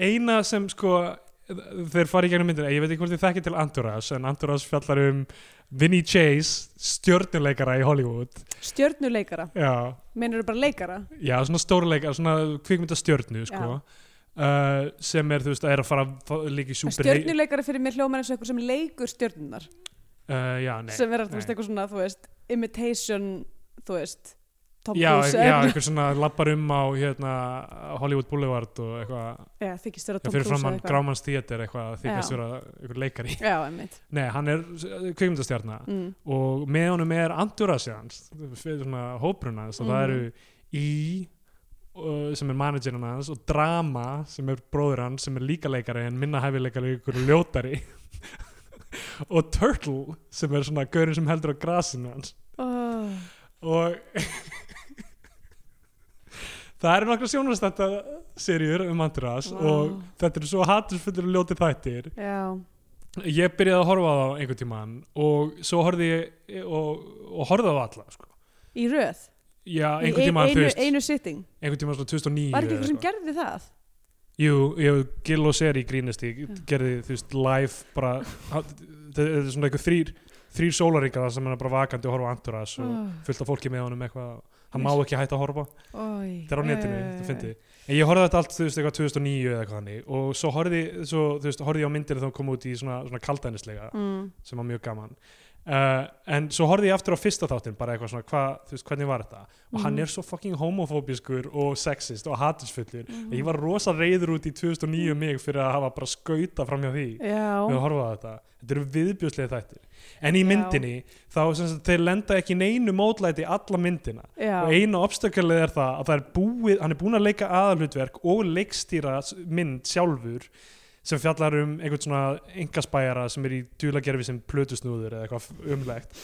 eina sem sko þeir fara í gegnum myndina, ég veit ekki hvort þið þekkið til Entourage en Entourage fjallar um Vinny Chase, stjörnuleikara í Hollywood
stjörnuleikara,
já,
meinar bara leikara
já svona stórleikara, svona kvikmyndastjörnu sko Uh, sem er, þú veist, að er að fara, fara líka í súper
Stjörnuleikari fyrir mér hljómar eins og eitthvað sem leikur stjörnunar
uh, já, nei,
sem er þú
nei.
veist, eitthvað svona, þú veist, imitation þú veist, Tom
já,
Cruise
já, einhver svona lappar um á hérna, Hollywood Boulevard og eitthvað
já, þykist þér að
já,
Tom
fyrir
Cruise eða
framann
eitthvað.
Grámans Theater eitthvað að þykast
Já.
vera einhver leikari
já, einmitt
nei, hann er kvikmyndastjarna
mm.
og með honum er Andurasi hans fyrir svona hópruna hans og það
Mhm.
eru Í uh, sem er managerinn hans og Drama sem er bróður hans sem er líka leikari en minna hæfileikari ykkur ljótari <laughs> og Turtle sem er svona gaurinn sem heldur á grasinu hans
oh,
og <laughs> það eru nokkra sjónarstætta serjur um Andras
Vá.
og þetta eru svo hatursfullur og ljóti þættir
já,
ég byrjaði að horfa á þá einhvern tímann og svo horfði ég og, og horfði á alla sko.
í röð
já,
í
einhvern tímann, þú
einu,
veist,
einu sitting
einhvern tímann svona 2009
var ekki
eða
eitthvað sem
eitthvað.
gerði það
jú, ég gil og seri grínist ég gerði þú veist live bara, þetta er svona einhver þrýr þrýr sólaringar sem hann er bara vakandi og horfa á Andras og
oh.
fullt af fólki með honum eitthvað það má ekki hætta að horfa
Oi,
þetta er á netinu,
eh,
þetta fyndi en ég horfði á þetta allt, þú veist, eitthvað 2009 eða eitthvað þannig og svo horfði, svo, þú veist, horfði ég á myndir þá kom út í svona, svona kaldænislega
mm,
sem var mjög gaman uh, en svo horfði ég aftur á fyrsta þáttinn bara eitthvað svona, hva, þú veist, hvernig var þetta og hann
Mhm.
er svo fucking homofóbiskur og sexist og hatursfullur
Mhm.
og ég var rosa reyður út í 2009 mig fyrir að hafa bara skauta framhjá því við
Já,
horfa á þetta, þetta eru viðbjörslega þættir en í
Já.
myndinni, þá sem sagt, þeir lenda ekki í neinu mótlæti alla myndina
já
og eina obstakalið er það að það er búið, hann er búin að leika aðalhutverk og leikstýra s- mynd sjálfur sem fjallar um einhvern svona engaspæjara sem er í dulagerfi sem plötusnúður eða eitthvað f- umlegt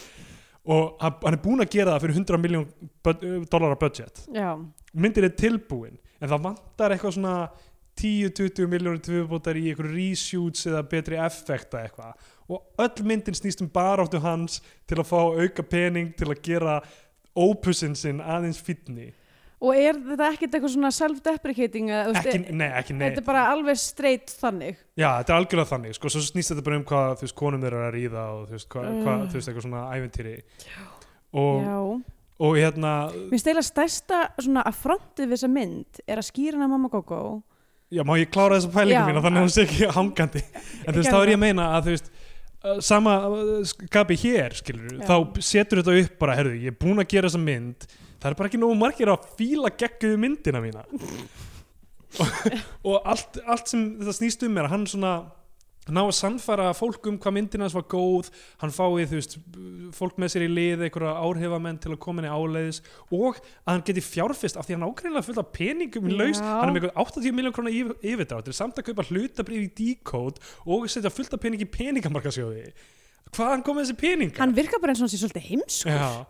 og hann hann er búin að gera það fyrir 100 miljón dollara budget
Já,
myndin er tilbúin en það vantar eitthvað svona 10-20 miljónir tvöfubótar í einhverju reshoots eða betri effekta eitthvað og öll myndin snýst um baráttu hans til að fá auka pening til að gera ópusinn sinn aðeins fýtni
og er þetta ekkert eitthvað svona self-deprecating eða, þú veist,
ekki,
er-
nei, ekki, nei,
Þetta er bara alveg straight þannig
já, þetta er algjörlega þannig sko, svo snýst þetta bara um hvað, þú veist, konum þeirra er að ríða og þú veist, hvað,
Mm.
hvað, þú veist, eitthvað svona æventýri og,
Já
og hérna
Mér steyla stærsta svona affrontið við þessa mynd er að skýra hana mamma Gogo
Já, má ég klára þessa pælingu
Já.
mína þannig að hún sé ekki
<laughs>
hangandi en þú veist,
Gerðu
þá er ég
það.
að meina að þú veist uh, sama uh, skapi hér, skilur
Já.
þá setur þetta upp bara, herðu, ég er búin að gera þessa mynd það er bara ekki nógu margir að fíla gegguðu myndina
<laughs>
mína og allt, allt sem þetta snýst um er að hann svona ná að sannfæra fólk um hvað myndina hans var góð hann fái, þú veist, fólk með sér í lið einhverja áhrifamenn til að koma henni áleiðis og að hann geti fjárfist af því hann ágreinilega fullt af peningum í laus
Já.
hann er með eitthvað 80 miljón krónar yfir, yfirdráttur samt að kaupa hlutabrif í Decode og setja fullt af pening í peningamarkasjóði hvaðan kom þessi peninga?
Hann virkar bara eins og hann sé svolítið heimsku
Já.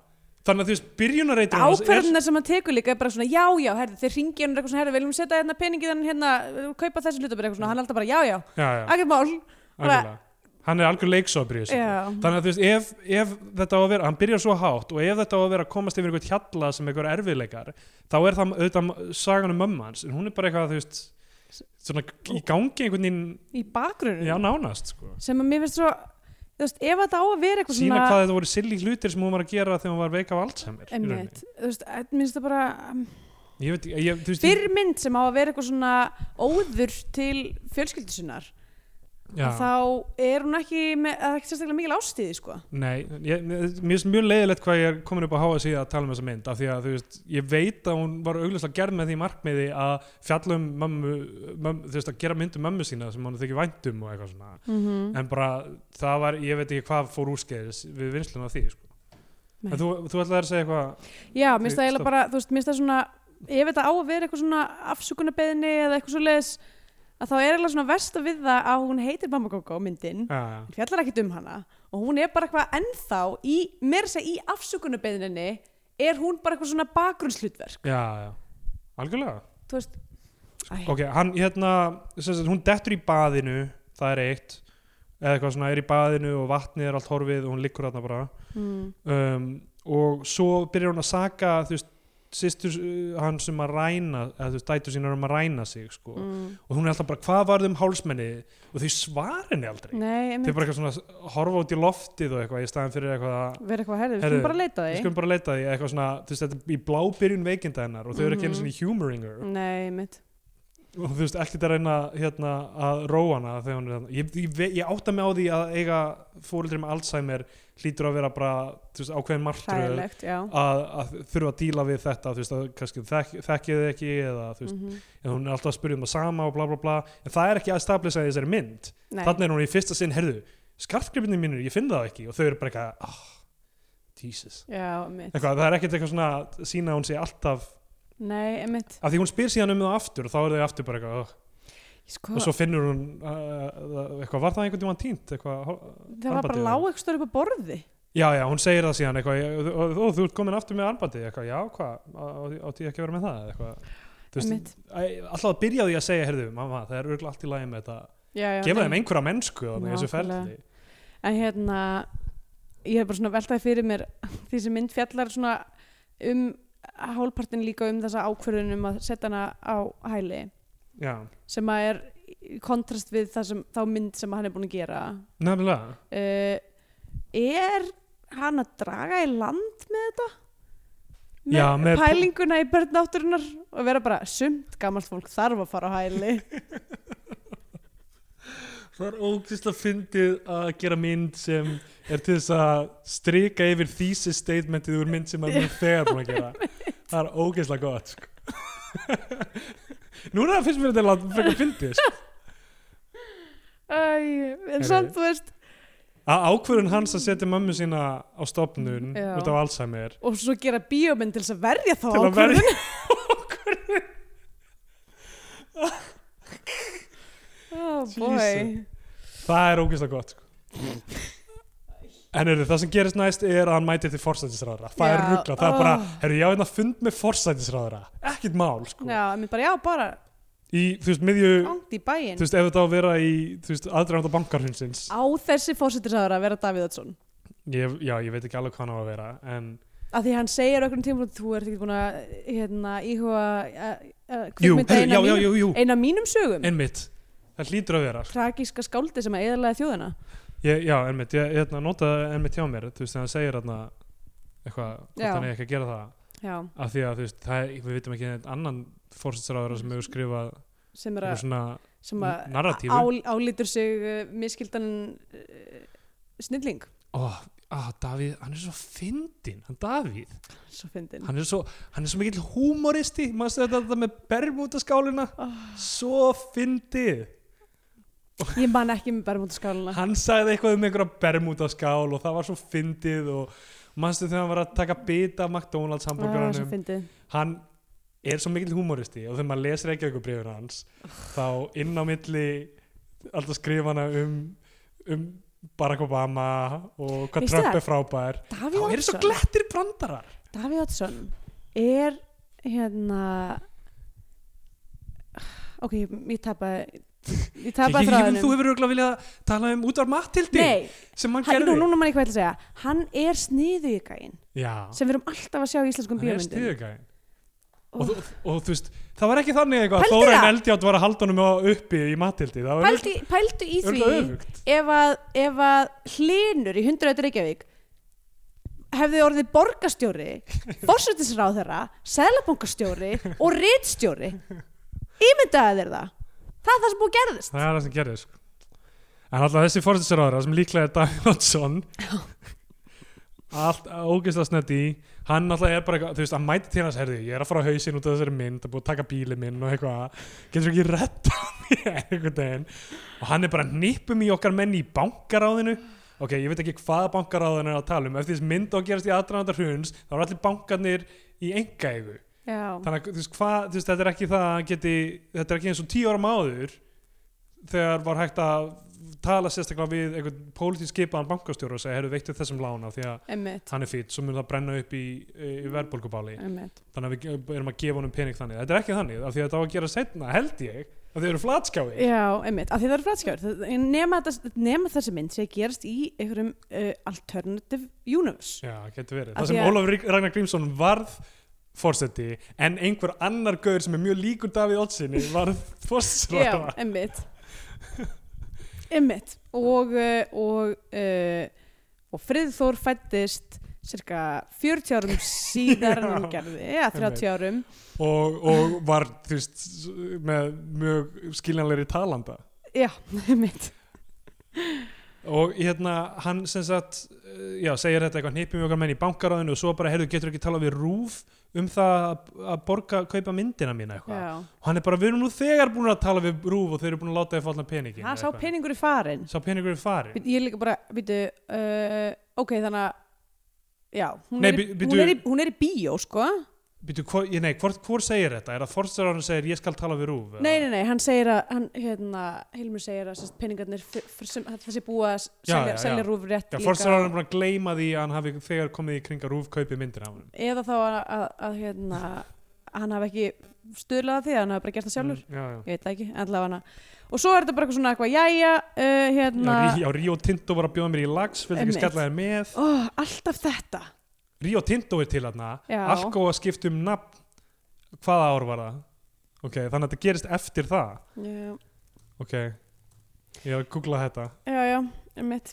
þannig að þú veist, byrjunareitur
Ákverðunar sem hann tekur líka er bara svona já, já, herði, þeir ringi hann og eitthvað svona, herði, viljum setja hérna peningið hann hérna, eh, kaupa þessi hlutabir eitthvað svona, hann er alltaf bara já, já,
já, já,
ekkert mál
algjörlega. hann er algjör leiksopri
Já.
þannig að þú veist, ef, ef þetta á að vera hann byrjar svo hátt og ef þetta á að vera að komast yfir einhvern hjalla sem einhver erfiðleikar þá er það auðvitað sagan um mömmu hans en hún er bara eitthvað, þú veist svona í gangi einhvern veginn,
Í bakgrunum
já nánast sko.
sem að mér finnst svo, þú veist, ef þetta á að vera eitthvað
sína
svona
hvað þetta voru silly hlutir sem hún var að gera þegar hún var veik af Alzheimer í rauninni.
Einmitt, þú veist, að- mér finnst það bara um,
ég veit, ég, þú veist,
fyrr mynd sem á að vera eitthvað svona óður til fjölskyldusinnar
já,
þá er hún ekki með, það er ekki sérstaklega mikil ástíði sko.
nei, ég, mér finnst mjög leiðilegt hvað ég er komin upp á háa síða að tala um þessa mynd af því að þú veist, ég veit að hún var auglustlega gerð með því markmiði að fjalla um mömmu, mömmu þú veist, að gera mynd um mömmu sína sem hann þykir væntum og eitthvað svona
mm -hmm.
en bara, það var, ég veit ekki hvað fór úrskeiðis við vinsluna á því, sko
Nei.
en þú, þú ætlaði að segja eitthvað
Já, mér finnst
Því-
það eiginlega
stopp.
bara, þú veist, mér finnst það svona ef þetta á að vera eitthvað svona afsökunarbeðni eða eitthvað svo leis að þá er eiginlega svona versta við það að hún heitir Mamma Gogo myndin,
já, já,
hún fjallar ekkit um hana og hún er bara eitthvað ennþá í, mér segja í afsökunarbeðninni er hún bara eitthvað svona bakgrunnshlutverk
já, já. algjörlega
þú veist, æ,
Ok, hann hérna, sem sagt, hún dettur í baðinu, það er eitt, eða eitthvað svona, er í baðinu og vatnið er allt horfið og hún liggur þarna bara.
mm,
Um, og svo byrjar hún að saka, þú veist, sýstur uh, hans um að ræna, eða þú veist, dætur sínar um að ræna sig, sko.
mm,
Og hún er alltaf bara, hvað varðum hálsmennið? Og þau svara henni aldrei.
nei,
Þau
einmitt,
bara eitthvað svona, horfa út í loftið og eitthvað, í staðan fyrir eitthvað að
vera eitthvað herrið, við
Heyrðu,
skulum bara leita
Við
að því
skulum bara leita að því, eitthvað svona, þú veist, þetta er í blábyrjun veikinda hennar og þau eru ekki einu
Mhm.
sinni humoring her
nei, mitt
og þú veist, ekkert að reyna hérna, að róa hana þegar hún er þarna ég, ég, ve- ég átta mig á því að eiga fóreldri með Alzheimer hlýtur að vera bara þú veist, ákveðin martröð að,
hræðilegt, já
að þurfa að díla við þetta þú veist, að kannski þek, þekkið þið ekki eða þú veist,
Mhm.
en hún er alltaf að spyrja um það sama og bla bla bla, en það er ekki að stablisa í þessari mynd,
Nei.
þannig er hún í fyrsta sinn herðu, skartgripinni mínir, ég finn það ekki og þau eru bara eitthvað, ah, Jesus
Já, mitt.
eitthvað, það er ekkert eitthvað svona að sína að hún sé alltaf,
Nei, mitt.
af því hún spyr síðan um það aftur og þá er þau aftur bara eitthvað, oh,
Sko,
og svo finnur hún uh, eitthvað, var það einhvern tímann tínt eitthvað,
það var bara
armbandið?
lág eitthvað upp á borði.
já já, hún segir það síðan eitthvað, og, og, og þú ert komin aftur með armbandi eitthvað, já hvað, á- átti ég ekki að vera með það eða eitthvað, þú
Einmitt.
veist æ, alltaf að byrja á því að segja, heyrðu, mamma, það er örgulega allt í lagi með þetta,
Já, já.
gefa
nei.
þeim einhverja mennsku á þessu
Nákvæmlega.
ferli,
En hérna, ég hef bara svona veltaði fyrir mér <laughs> því sem mynd fjallar svona um hálpartin líka um þessa ákvörðunum að setja hana á hæli
já,
sem að er í kontrast við það sem, þá mynd sem hann er búin að gera. Eh,
nefnilega
Uh, er hann að draga í land? með,
Já, með-
pælinguna í börnátturinnar og vera bara sumt gamalt fólk þarf að fara á hæli
<laughs> Það er ógislega fyndið að gera mynd sem er til þess að strika yfir thesis statementið úr mynd sem er mjög þegar búin að
<laughs>
gera. Það er ógislega gott, sko. <laughs> Núna finnst mér þetta langt frekar fyndið, sko.
Æ, en
Heyrðu.
samt, þú veist
Að ákvörðun hans að setja mömmu sína á stopnun
Já.
út af Alzheimer
og svo gera bíómynd til þess að verja þá
til að
ákvörðun.
verja ákvörðun.
<laughs> oh,
Jesus.
boy.
Það er ógislega gott, sko. En eru, það sem gerist næst er að hann mæti til forsætisráðara. Það er
Já,
ruggla, það er bara,
oh.
herru, ég á hérna fund með forsætisráðara. Ekkit mál, sko.
Já, mér bara, já, bara
Í, þú veist, miðju,
gangt í bæinn
þú veist, ef þetta á að vera í, þú veist, aðdraganda bankarhundsins.
á þessi fósittisáður að vera Davíð Ötsson
Ég, já, ég veit ekki alveg hvað hann á að vera, en
að því hann segir okkur um tíma þú ert ekki búin að hérna, íhuga eh, eh,
Jú,
kvikmynda
heyrðu,
eina,
já, já,
mínum-
jú, jú,
eina mínum sögum
einmitt. Það hlýtur að vera, sko.
tragíska skáldi sem að eðlaði þjóðina
Ég, já, einmitt, ég, ég hérna, notaði einmitt hjá mér, þú veist, þegar hann segir hérna, eitthvað, hvort
Já.
hann er ekki að gera það.
já,
Af því að, þú veist, það, við vitum ekki neitt annan fórsætsráður sem hefur skrifað
sem er
eitthvað
að,
svona,
sem að
narratífu.
á, álítur sig uh, miskildan uh, snilling
ó, á, Davíð, hann er svo fyndinn, hann Davíð.
svo fyndin
Hann er svo, hann er svo mikill húmoristi, maður þetta þetta með bermútaskálina,
Oh.
svo fyndið.
ég man ekki með bermúntaskáluna
hann sagði eitthvað um einhverja bermútaskál og það var svo fyndið og mannstu þegar hann var að taka bita af McDonalds
svo
hambúrgaranum
fyndið
hann er svo mikill húmoristi og þegar maður lesir ekki eitthvað breyfin hans þá inn á milli alltaf skrifana um, um Barack Obama og hvað
Veistu
Trump
það?
er frábær þá eru
Davíð
svo
Oddsson
glettir brandarar
Davíð Oddsson er hérna ok, ég, ég tapaði ég
ég,
tapaði
ég, ég,
þráðunum
þú hefur auðvitað viljað tala um útvar Matildi
Nei,
sem hann
hann,
gerði
nú, núna man ég hvað ég ætla að segja hann er sniðu í gæin
já,
sem við erum alltaf að sjá í íslenskum
hann er
bíómyndum
stiðugæðin
Og-
og, og, og þú veist, það var ekki þannig eitthvað að
Pældu
Þórainn
það.
Eldjátt var að halda honum á- uppi í matildi það var
pældu, pældu í því
örgulega öfugt
ef að, ef að hlinur í 100 auðvitað Reykjavík hefði orðið borgarstjóri
<laughs>
fórsættisráðherra, seðlabankastjóri og ritstjóri ímyndaði þér það það er það sem búið að gerðist
það er það sem gerðist sko. en alltaf þessi fórsættisráðara sem líklega er Davíð Oddsson allt ógeðslega snett í hann alltaf er bara eitthvað, þú veist, hann mæti til hans herði, ég er að fara á hausinn út af þessari mynd að búið að taka bíli minn og eitthvað getur ekki retta mér <laughs> einhvern veginn og hann er bara nýpum í okkar menni í bankaráðinu ok, ég veit ekki hvað bankaráðinu er að tala um eftir þess mynd á að gerast í aðdraðandar hruns þá eru allir bankarnir í engaegu
Já,
þannig að þú veist, hvað, þú veist, þetta er ekki það að hann geti, þetta er ekki eins og tíu ára áður þegar var hægt að tala sérstaklega við einhvern pólitísk skipaðan bankastjóra og segja, heyrðu veittu þessum lána því að
emmitt
hann er fýtt, svo mun það brenna upp í, í verðbólkubáli,
Einmitt.
þannig að við erum að gefa honum pening þannig, þetta er ekki þannig, af því að þetta á að gera setna, held ég, af því að þau eru flatskjáði
Já, einmitt, af því það eru flatskjáður nema, þetta- nema þessi mynd sem gerast í einhverjum uh, alternative universe
Já, getur verið.
Af
Það
því
sem
að-
Ólafur Rík- Ragnar Grímsson varð fórseti en einhver annar gaur sem er mjög líkur Davíð Oddsinni varð fórsetisráðherra.
Já, einmitt Einmitt og, uh, og, uh, og Friðþór fættist cirka 40
<laughs>
árum síðar en hann
Já,
gerði, já, 30 árum
og, og var þú veist, s- með mjög skiljanlegri talanda
Já, einmitt
og hérna hann sem sagt eh, já, segir þetta eitthvað hnippum okkar menn í bankaráðinu og svo bara, heyrðu, getur ekki talað við rúf um það að- að borga, kaupa myndina mína eitthvað
Já,
og hann er bara, við erum nú þegar búin að tala við rúf og þeir eru búin að láta þið falla peningin
hann sá peningur í farin
sá peningur er farin
Ég er líka bara, veitu, uh, ok, þannig að Já, hún,
Nei,
er, í-
bí- bíddu-
hún, er í, hún er í bíó, sko
Býtu, hvor, ég- nei, hvort, hvort segir þetta? Er það forstæðarinn segir, ég skal tala við rúf? eða?
Nei, nei, nei, hann segir að hann, hérna, Hilmur segir að sérst, peningarnir f- f- sem það sé búið að s-
Já,
selja,
já, já.
selja rúf rétt
Já,
líka.
forstæðarinn er búin að gleyma því að hann hafi þegar komið í kringa rúf kaupið myndina á hann
Eða þá að, að, að hérna, hann hafi ekki stuðlað að því, hann hafi bara gert það sjálfur.
Mm, Já, já
Ég veit það ekki, allavega hana. Og svo er þetta bara eitthvað svona eitthvað, jæja, uh, hérna,
Já, Rí- Já, Rio Tinto var að bjóða mér í lags vildi ekki
Einmitt.
skella þér með
ó, alltaf þetta.
Rio Tinto er til þarna
Já.
Alko að skipta um nafn hvaða ár var það? Ok, þannig að þetta gerist eftir það
Já,
Ok, ég er að googla þetta
já, já, mitt.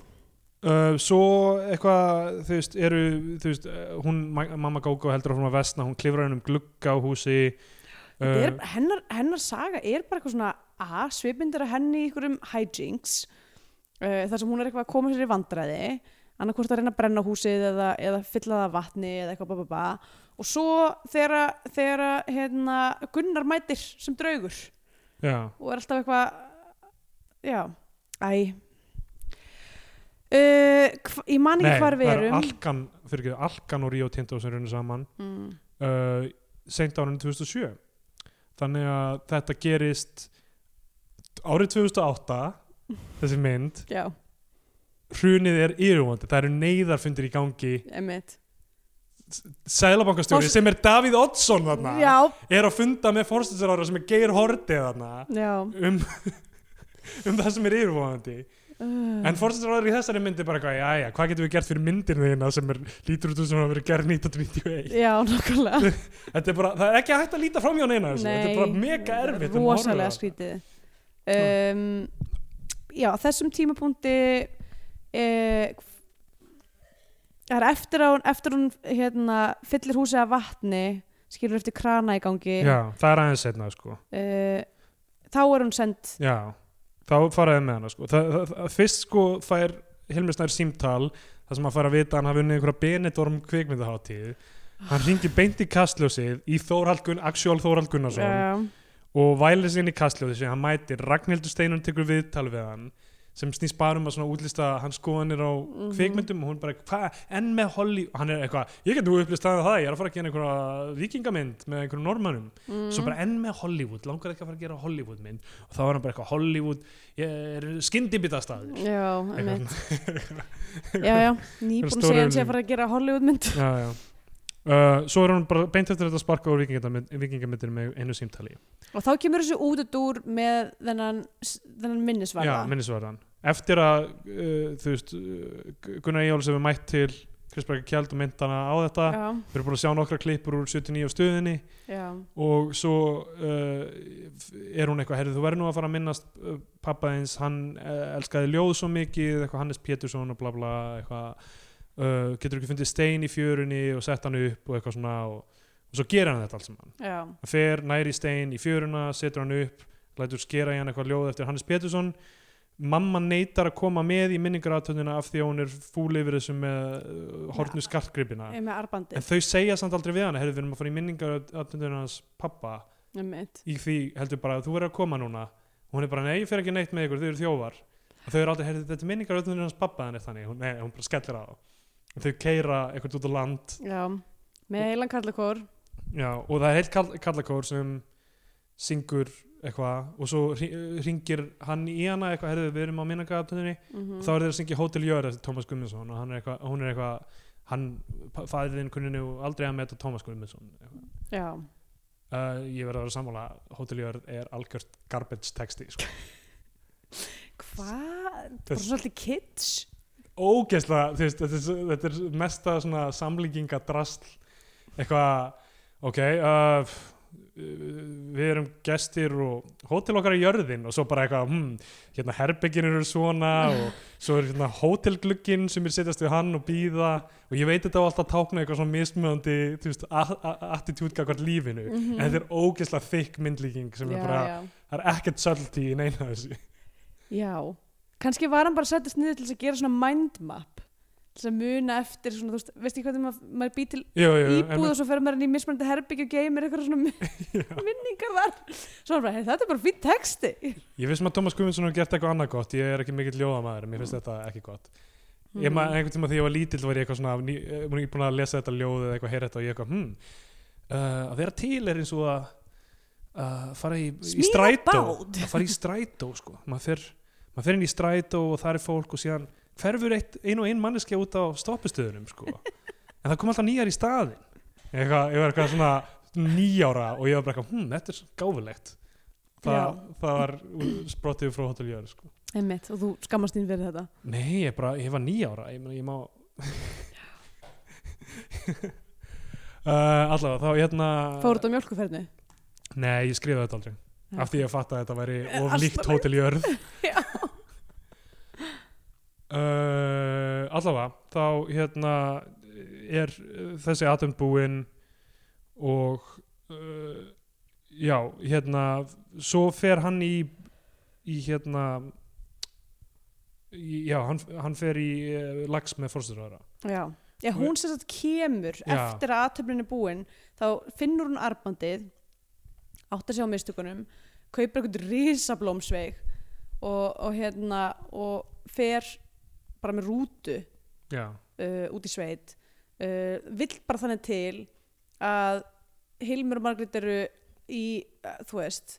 Uh, svo eitthvað, þú veist, eru þú veist, eh, hún, ma- mamma Gógó heldur áfram að vesna, hún klifrar henn um glugga á húsi
Þetta
Um.
er, hennar, hennar saga er bara eitthvað svona að svipmyndir að henni í einhverjum hijinks uh, þar sem hún er eitthvað að koma sér í vandræði annarkvort að reyna að brenna húsið eða, eða fylla það af vatni eða eitthvað bababa og svo þegar, að- þegar að, hérna, Gunnar mætir sem draugur
Uh, já,
og er alltaf eitthvað já, æ uh, hva, ég man ekki hvar við
það er
erum
Alkan, fyrir ekki, Alkan og Rio Tinto sem runni saman
mm,
uh, seint árið 2007 þannig að þetta gerist árið
<laughs>
2008 þessi mynd,
já,
hrunið er yfirvóndi það eru neyðarfundir í gangi
emitt
sælabankastjóri
Fors-
sem er Davíð Oddsson þarna
já,
er að funda með fórstinsrára sem er Geir Hordið þarna
já
um, <laughs> um það sem er yfirvóðandi en fórstinsráður í þessari myndi bara eitthvað, jæja, hvað getum við gert fyrir myndinu þína sem er lítur út úr sem hafa verið gerð 1991
já, nokkulega
þetta er bara, það er ekki hægt að líta fram hjá neina þessu þetta er bara mega erfitt um að horfa á
rosalega
það.
skrítið um, já, á þessum tímapunkti eh, það er eftir að hún, eftir að hún hérna, fyllir húsið af vatni skilur eftir krana í gangi
já, það er aðeins setna sko
eh, þá er hún send
já, þá faraði með hana sko það, það, það, fyrst sko fær Hilmi Snær símtal þar sem að fara að vita að hann hafi unnið einhverja Benidorm kvikmyndaháttíð hann ringi beint í kastljósið í Þórhald Gunn, Axjól Þórhald Gunnarsson
uh,
og vælir sig inn í kastljóði sem hann mætir Ragnhildur Steinun tekur viðtal við hann sem snýst bara um að svona útlista hans skoðanir á kvikmyndum og hún bara, hvað, enn með Holly og hann er eitthvað, ég get nú upplist það það ég er að fara að gera einhverja vikingamynd með einhverjum normannum,
Mhm.
svo bara enn með Hollywood langar ekki að fara að gera Hollywood mynd og þá er hann bara eitthvað Hollywood skyndibitastæður
Mm, já, einmitt. já, já, nýbúin að
Stóru
segja hann sé
augun.
að fara að gera Hollywood mynd
já, já Uh, svo er hann bara beint eftir þetta sparka úr vikingamyndir með einu símtali
og þá kemur þessu út að dúr með þennan, þennan minnisvarða
Já, minnisvarðan. Eftir að uh, þú veist, uh, Gunnar Eyjáls hefur mætt til Kristberg Kjeld og myndana á þetta
já,
við erum búin að sjá nokkra klippur úr 79 af stöðinni
já.
og svo uh, er hún eitthvað, herrið þú verður nú að fara að minnast uh, pappa eins, hann uh, elskaði ljóð svo mikið, eitthvað Hannes Pétursson og bla bla, eitthvað uh, getur ekki fundið stein í fjörunni og sett hann upp og eitthvað svona og, og svo gerir hann þetta alls saman
já.
hann fer, næri stein í fjöruna, setur hann upp lætur skera í hann eitthvað ljóð eftir Hannes Pétursson mamma neytar að koma með í minningaratöndina af því að hún er fúl yfir þessu með uh, hornu skartgripina
Ég með arbandi
en þau segja samt aldrei við hann herðu við erum að fara í minningaratöndina hans pappa
einmitt.
í því heldur bara að þú verður að koma núna og hún er bara nei, ég fer ekki neitt með ykkur, þau eru þjófar og þau eru aldrei, herðu þetta er minningaratöndina hans pappa þannig, þannig, hún, nei, hún bara skellir á og þau keira eitthvað út á land
Já, með heilan kallakór
Já, og það er heilt kall, kallakór sem syngur eitthvað og svo ringir hann í hana eitthvað, herðu við erum á minnagatöðinni
mm
og þá er þeir að syngja Hotel Jörg eftir Tómas Guðmundsson og hann er eitthvað, hún er eitthvað hann, fæðiðinn kunni nú aldrei að meta Tómas Guðmundsson eitthvað.
Já,
uh, ég verði að vera sammála Hotel Jörg er algjört garbage texti sko.
hvað? Bara
Þess-
svolítið kids
ógeðslega, þú veist, þetta er, þetta er mesta svona samlíkinga drasl eitthvað, ok uh, f- uh, við erum gestir og hótel okkar er jörðin og svo bara eitthvað, hmm, hérna herbyggin eru svona
<laughs>
og svo er hérna hótelglugginn sem er setjast við hann og býða og ég veit þetta á alltaf tákna eitthvað svona mismöðandi, þú veist, attitúdka hvert lífinu, en þetta er ógeðslega þykk myndlíking sem
Mhm. já,
er bara,
já.
það er ekkert söldi í neina af þessu.
já, kannski var hann bara að setjast niður til þess að gera svona mindmap til þess að muna eftir svona, þú veist, veistu hvað þegar maður, maður býr til
Jú, jú,
íbúð
einmitt.
og svo fer maður inn í mismunandi herbyggju og geymir eitthvað
<laughs>
svona mi- minningar þar Svo er bara, hey, þetta er bara fýtt texti
Ég veist maður að Tómas Guðmundsson hefur gert eitthvað annað gott, ég er ekki mikill ljóðamaður, mér finnst þetta ekki gott. Ég
Mhm.
maður einhvern tíma þegar ég var lítill var ég eitthvað svona, ný- eh, búin búin að lesa þetta ljóð eða eitthvað, heyra þetta og ég eitthvað, hmm, uh, að vera til er eins og að uh, fara í, í
Smíða
strætó,
bát.
að fara í strætó, sko, maður fer, maður fer inn í strætó og það er fólk og síðan hverfur eitt, ein og ein manneskja út á stoppustöðunum, sko, en það kom alltaf nýjar í staðin, eitthvað, ég var eitthvað svona nýjára og ég var bara eitthvað, hmm, þetta er gáfulegt. Það, það var sprottið frá Hotel Jörg sko.
Einmitt, og þú skammast þín fyrir þetta
Nei, ég, bara, ég var nýjára ég, meni, ég má <laughs> uh, Allavega, þá hérna
Fóruð á mjölkuferðinu
Nei, ég skrifaði þetta aldrei
Nei.
Af því ég fatt að þetta væri
Eh,
of
<laughs> Alltaf
líkt Hotel Jörg
Já.
uh, allavega þá hérna er eh, þessi atom búinn og uh, já, hérna svo fer hann í í hérna í, já, hann, hann fer í uh, lags með fórstyrðara
Já. Já, hún sem sagt kemur
Já.
eftir að aðtöflin er búin þá finnur hún arbandið áttar sig á mistökunum kaupir eitthvað risablómsveig og, og hérna og fer bara með rútu
já,
uh, út í sveit uh, vill bara þannig til að Hilmur og Margrét eru í, uh, þú veist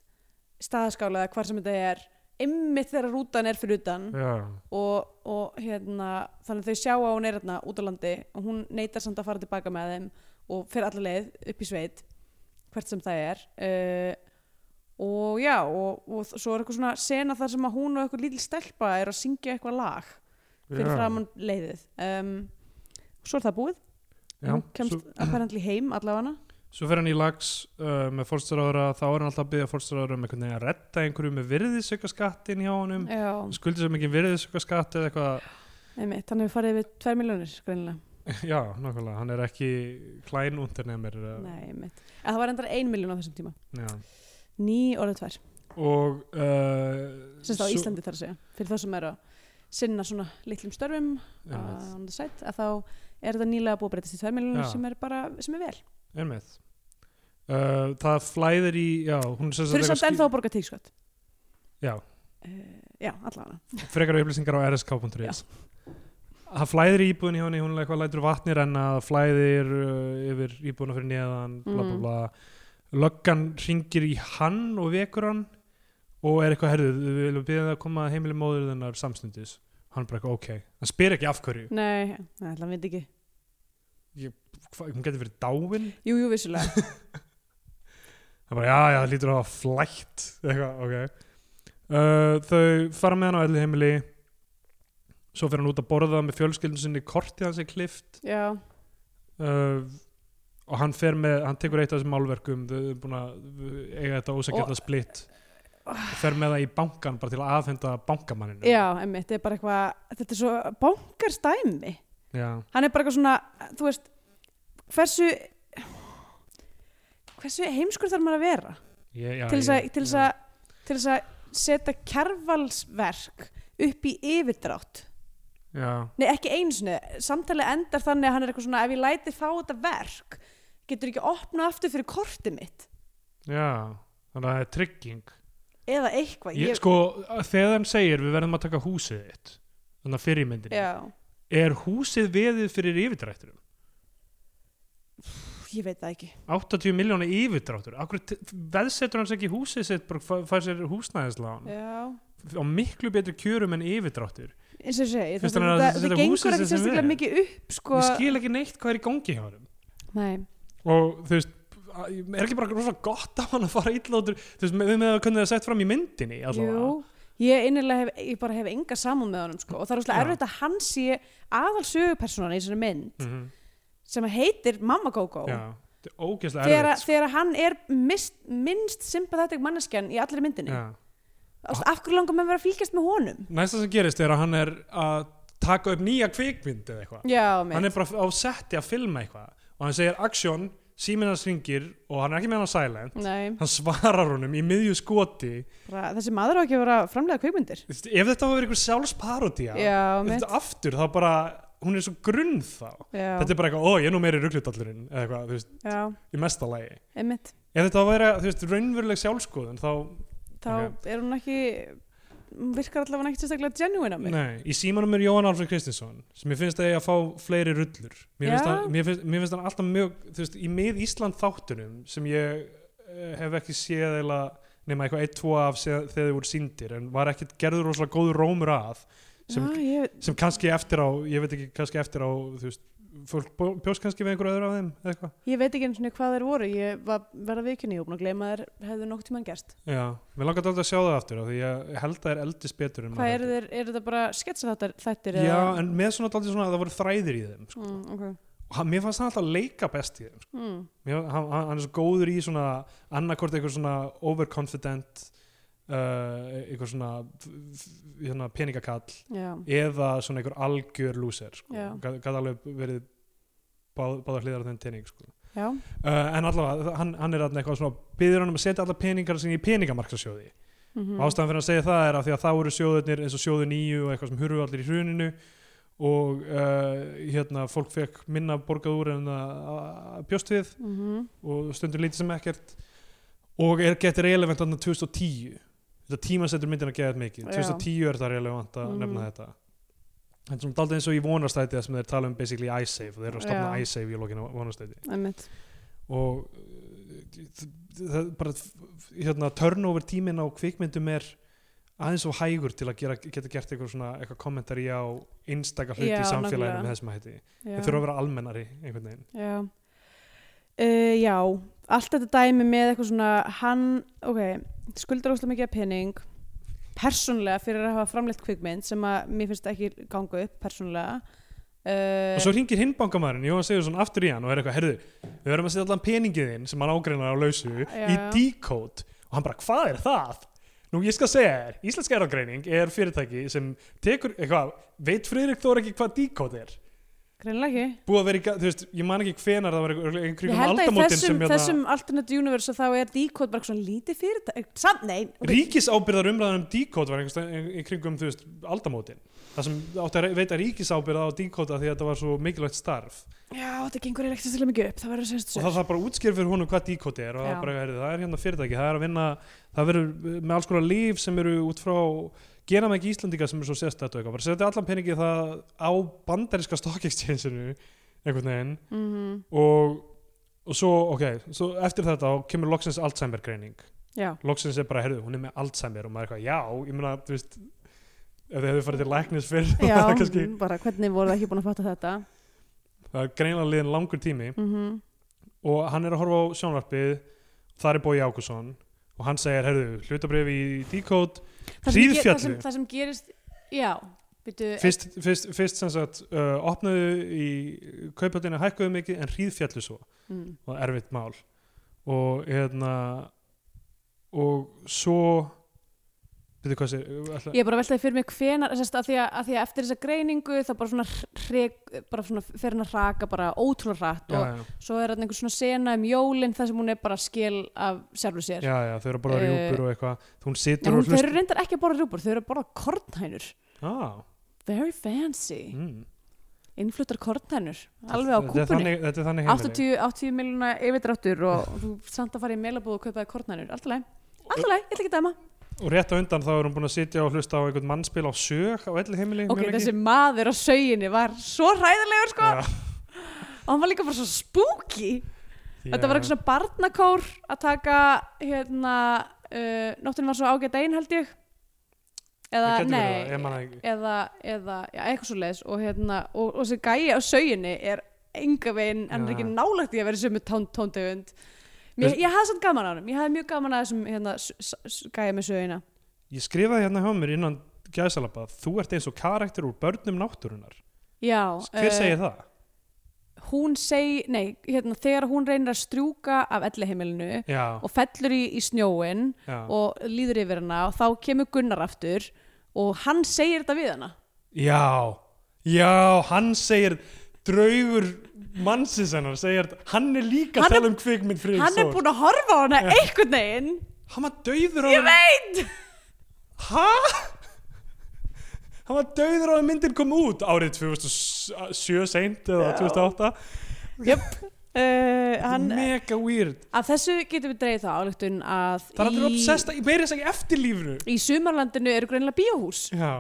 staðaskála eða hvar sem þetta er einmitt þegar rútan er fyrir utan
já,
og, og hérna, þannig að þau sjá að hún er hérna út á landi og hún neytar samt að fara tilbaka með þeim og fer alla leið upp í sveit hvert sem það er uh, og já og, og svo er eitthvað svona sena þar sem að hún og eitthvað lítil stelpa er að syngja eitthvað lag fyrir
já.
framann leiðið um, svo er það búið
já.
hún mm, kemst
Svo,
apparently heim allavega
svo fer hann í lags uh, með fórstyrðara þá er hann alltaf að byggja fórstyrðara um einhvern veginn að redda einhverju með virðisauka skattin hjá honum
já,
skuldi sem ekki virðisauka skatt eða eitthvað
einmitt, hann hefur farið yfir 2 miljónir greinilega
já, nákvæmlega, hann er ekki klæn undirnemir
nei, einmitt, en það var endara 1 miljón á þessum tíma
uh, já.
ný orðið tvær
og uh,
sem það á
svo-
Íslandi þarf að segja fyrir þá sem eru að sinna svona litlum störfum
Já,
uh, on the side, að þá er þetta nýlega búið að breytast í tværmiljónum
Já.
sem er bara, sem er vel
einmitt uh, það flæðir í já, hún sem sagt
þau eru samt
eitthvað
ennþá að borga tíkskott
Já.
uh, já, allavega
ský- frekar upplýsingar á rsk.is það flæðir í íbúðin hjá henni hún eitthvað lætur vatni renna það flæðir uh, yfir íbúðina fyrir neðan bla bla
Mhm.
bla löggan ringir í hann og vekur hann og er eitthvað herðu við viljum byrja það að koma að heimili móður þennar samstundis hann bara eitthvað ok hann spyr ekki af hverju
nei, nei, allavega veit ekki
Hva, hún getur verið dáin
jú, jú, vissulega
Það bara, já, já, það lítur á að flætt eitthvað, ok uh, Þau fara með hann á elli heimili Svo fer hann út að borða með fjölskyldun sinni kortið hans er klift
<laughs> já,
uh, og hann fer með hann tekur eitt af þessum málverkum þau eru búin að eiga þetta ósækjæta splitt og fer með það í bankan bara til að afhenda bankamanninu
já, emmi, þetta er bara eitthvað þetta er svo bóngarstæmi
já,
hann er bara eitthvað svona, þú veist hversu hversu heimskur þarf maður að vera
ég, já
til þess að-
ég-
til þess
já.
að til þess að setja kjærvalsverk upp í yfirdrátt
já,
nei ekki eins og samtalið endar þannig að hann er eitthvað svona ef ég læti fá þetta verk getur ekki opna aftur fyrir kortið mitt
já, þannig að það er trygging
eða eitthvað
ég, sko, þegar hann segir við verðum að taka húsið þitt þannig að fyrirmyndinu
já,
er húsið veðið fyrir yfirdrætturum
pff, ég veit það ekki
80 miljónu yfirdráttur Akkur veðsetur hans ekki húsið sitt bara fæ- fær sér húsnæðislán
já.
á miklu betri kjörum en yfirdráttur
eins og ég segi,
Finnst
þetta,
hann að
þetta,
setja
þetta
húsið
gengur ekki
sem
sérstaklega
er?
mikið upp sko,
ég skil ekki neitt hvað er í gangi hjá hann
nei,
og þú veist er ekki bara rosa gott af hann að fara illátur þú veist, við með að kunna það sett fram í myndinni allavega.
jú ég innilega hef, ég bara hef enga samúð með honum sko, og það er úrslega
Já.
erfitt að hann sé aðal sögupersónan í þessari mynd
Mhm,
sem heitir Mamma Gogo
já, þetta er ógeðslega
þegar,
erfitt sko.
þegar hann er mist, minnst sympathetic manneskjan í allir myndinni
Já.
Ást, af hverju langar maður að vera að fylgjast með honum
næsta sem gerist er að hann er að taka upp nýja kvikmynd eða eitthvað
já,
hann er bara á setti að filma eitthvað og hann segir action, síminn hans ringir og hann er ekki með hann á silent
Nei,
hann svarar honum í miðju skoti
bara, þessi maður á ekki að vera að framlega kveikmyndir
Þú veist, ef þetta hafa verið einhver sjálfsparodía
já, mitt
þetta aftur þá bara hún er svo grunn þá
já,
þetta er bara eitthvað, ó ég er nú meiri ruglutallurinn eða eitthvað, þú veist,
já,
í mesta lagi
einmitt
ef þetta hafa verið, þú veist, raunveruleg sjálfskoðun þá,
þá er hún ekki hún virkar allavega ekki sérstaklega genuine á mig
nei, í símanum er Jóhann Alfred Kristinsson sem ég finnst að ég að fá fleiri rullur mér finnst,
Já.
hann, mér, finnst, mér finnst hann alltaf mjög, þú veist, í mið Ísland þáttunum sem ég eh, hef ekki séð eða nema eitthvað eitt, tvo af séð, þegar þau voru síndir en var ekkert gerður rosalega góður rómur að sem
já, ég,
sem kannski eftir á, ég veit ekki kannski eftir á, þú veist, fólk bjó- bjóst kannski við einhverju öðru af þeim, eða eitthvað
ég veit ekki eins og hvað þeir voru ég var, verða vikinni og búin að gleyma að þeir hefðu nokkuð tímann gerst
Já, mér langar þetta að sjá það aftur af því ég held að það er eldist betur en
hvað
maður
eru
heldur.
þeir, eru þetta bara sketsa þetta þettir
Já, en með svona daldið svona að það voru þræðir í þeim sko.
mm, okay.
og hann- mér fannst hann alltaf leika best í þeim sko.
mm.
mér, hann, hann hann er svo góður í svona annarkort eitthvað svona overconfident uh, einhver svona, svona peningakall
já,
eða svona einhver algjör lúser sko.
Já.
gæti alveg verið báð, báða hliðar á þenn pening sko.
já,
uh, en allavega, hann, hann er þarna eitthvað svona byður hann um að setja alla peningar sinni í peningamarkasjóði
mhm,
og ástæðan fyrir að segja það er af því að þá eru sjóðurnir eins og sjóðu nýju og eitthvað sem hurfu allir í hruninu og uh, hérna fólk fekk minna borgað úr en það uh, bjóst við
mhm,
og stundur lítið sem ekkert og er gett relevant annað 2010 þetta tímasettur myndin að geða þetta mikið
Já.
2010 er það relevant að
Mhm.
nefna þetta þetta er svona daldið eins og í vonarstæti það sem þeir tala um basically iSave og þeir eru að stofna
Já.
iSave í lokinu vonarstæti
einmitt
og uh, þ- það bara hérna, turnover tíminn á kvikmyndum er aðeins og hægur til að gera, geta gert eitthvað, svona, eitthvað kommentari á einstaka hluti
Já,
í samfélaginu
nákvæmlega.
með þessum hætti
já.
það þurfa að vera almennari einhvern veginn
Já. Uh, já, allt þetta dæmi með eitthvað svona, hann, ok, skuldar óslega mikið af pening, persónlega fyrir að hafa framleitt kvikmynd sem að mér finnst ekki ganga upp persónlega. Uh,
og svo ringir hinn bankamæðurinn, Jóhann Sigurðsson aftur í hann og er eitthvað, herðu, við verðum að setja allan peningið þinn sem hann ágreinar á lausu í
já.
decode og hann bara, hvað er það? Nú ég skal segja þér, Íslenska erðagreining er fyrirtæki sem tekur, eitthvað, veit Friðrik Þór ekki hvað decode er?
Greinlega ekki.
búið að vera í, ga- þú veist, ég man ekki hvenar það var einhver- einhver
Ég
kringum
held að í
aldamótin
þessum,
sem hérna,
þessum alternate universe þá er Decode bara svona lítið fyrirtæk, samt, nei, ok,
ríkisábyrðar umræðan um díkót var einhverstað í kringum, þú veist, aldamótin það sem átti að re- veita ríkisábyrða á díkóta því að þetta var svo mikilvægt starf
já, þetta gengur eiginlega ekki sérstaklega mikið upp, það verður að segja
og það þarf bara að útskýra fyrir honum hvað díkóti er og það
Já.
er bara, heyrðu, það er hérna fyrirtæki, það er að vinna það verður eh, með alls konar líf sem eru út frá gera með ekki Íslandinga sem er svo sérstætt og eitthvað, bara setja allan peningi það á bandariska stock exchange-inu einhvern veginn
Mhm,
og, og svo, ok, svo eftir þetta þá kemur loksins Alzheimer greining <laughs>
Já,
loksins er bara, heyrðu, hún er með Alzheimer og maður er eitthvað, já, ég meina, þú veist ef þið hefðu farið til læknis fyrr <laughs> þá
já mm,
var það kannski,
bara hvernig voru það ekki búin að fatta þetta?
það er greinlega liðin langur tími
Mm
og hann er að horfa á sjónvarpið þar er Bói Ákusson og hann segir, heyrðu, hlutabrif í Decode
það sem, ge- það
Hríðfjalli.
sem, það sem gerist já, byrju,
fyrst, fyrst, fyrst sem sagt uh, opnaðu í kaupöldinu hækkuðu mikið en hríðfjallu svo
mm,
og erfitt mál og hérna og svo byrðu hvað sér ætla,
ég er bara veltaði fyrir mig hvenar sest, að, því að, að því að eftir þessa greiningu það bara svona, hrek, bara svona fer hann að raka bara ótrúlega rætt og
já,
svo er hann einhver svona sena um jólin þar sem hún er bara skil af sjálfu sér
já, já, þau eru bara
Eh,
rjúpur og eitthvað hún
Nei,
situr
hún,
og
þau
hlustar
eru reyndar ekki að borða rjúpur, þau eru að borða kornhænur
ah,
very fancy,
mm.
innfluttar kornhænur
Þetta
alveg á
er
kúpunni
þannig- Þetta er þannig heimili
80, 80 miljóna yfirdráttur og þú samt að fara í meilabúð og kaupaði kornhænur alltaf leið, alltaf leið, ég ætla ekki að dæma
Og rétt á undan þá er hún búin að sitja og hlusta á einhvern mannspil á sög á elli heimili
Ok, þessi maður á sauginni var svo hræðilegur sko
ja,
og hann var líka bara svo spooky Þetta var eitthvað svona barnakór að taka hérna uh, Nóttin var svo ágætt einn held ég Eða nei
nei
Eða, eða já, eitthvað svo leis og hérna og, og þessi gæi á sauginni er enga veginn, hann er
Já.
ekki nálægt í að vera sömu tón, tóndegund Mér,
Veist-
ég hafði samt gaman á hann, ég hafði mjög gaman að þessum hérna, s- s- gæja með sögina
Ég skrifaði hérna hjá mér innan gæsalapa Þú ert eins og karakter úr börnum náttúrunar
Já,
Hver
eh,
segir það?
hún segi, nei, hérna, þegar hún reynir að strjúka af elliheimilinu
Já,
og fellur í, í snjóin
já,
og líður yfir hana og þá kemur Gunnar aftur og hann segir þetta við hana
já Já, hann segir draugur mannsins hennar segir, hann er líka
Hann
að
er-
tala um kvikmynd friðið
hann er búinn að
<laughs>
horfa á hana einhvern veginn
Hann var dauður á
ég veit
Hæ? Hann var dauður á að myndin kom út árið 2007 seint eða
Já.
2008
yep. uh, hann,
Mega weird
af þessu getum við dreigð þá áluktun að
Það er allir
í,
obsessed, meira þess ekki eftir lífnu
í sumarlandinu eru greinlega bíóhús
Já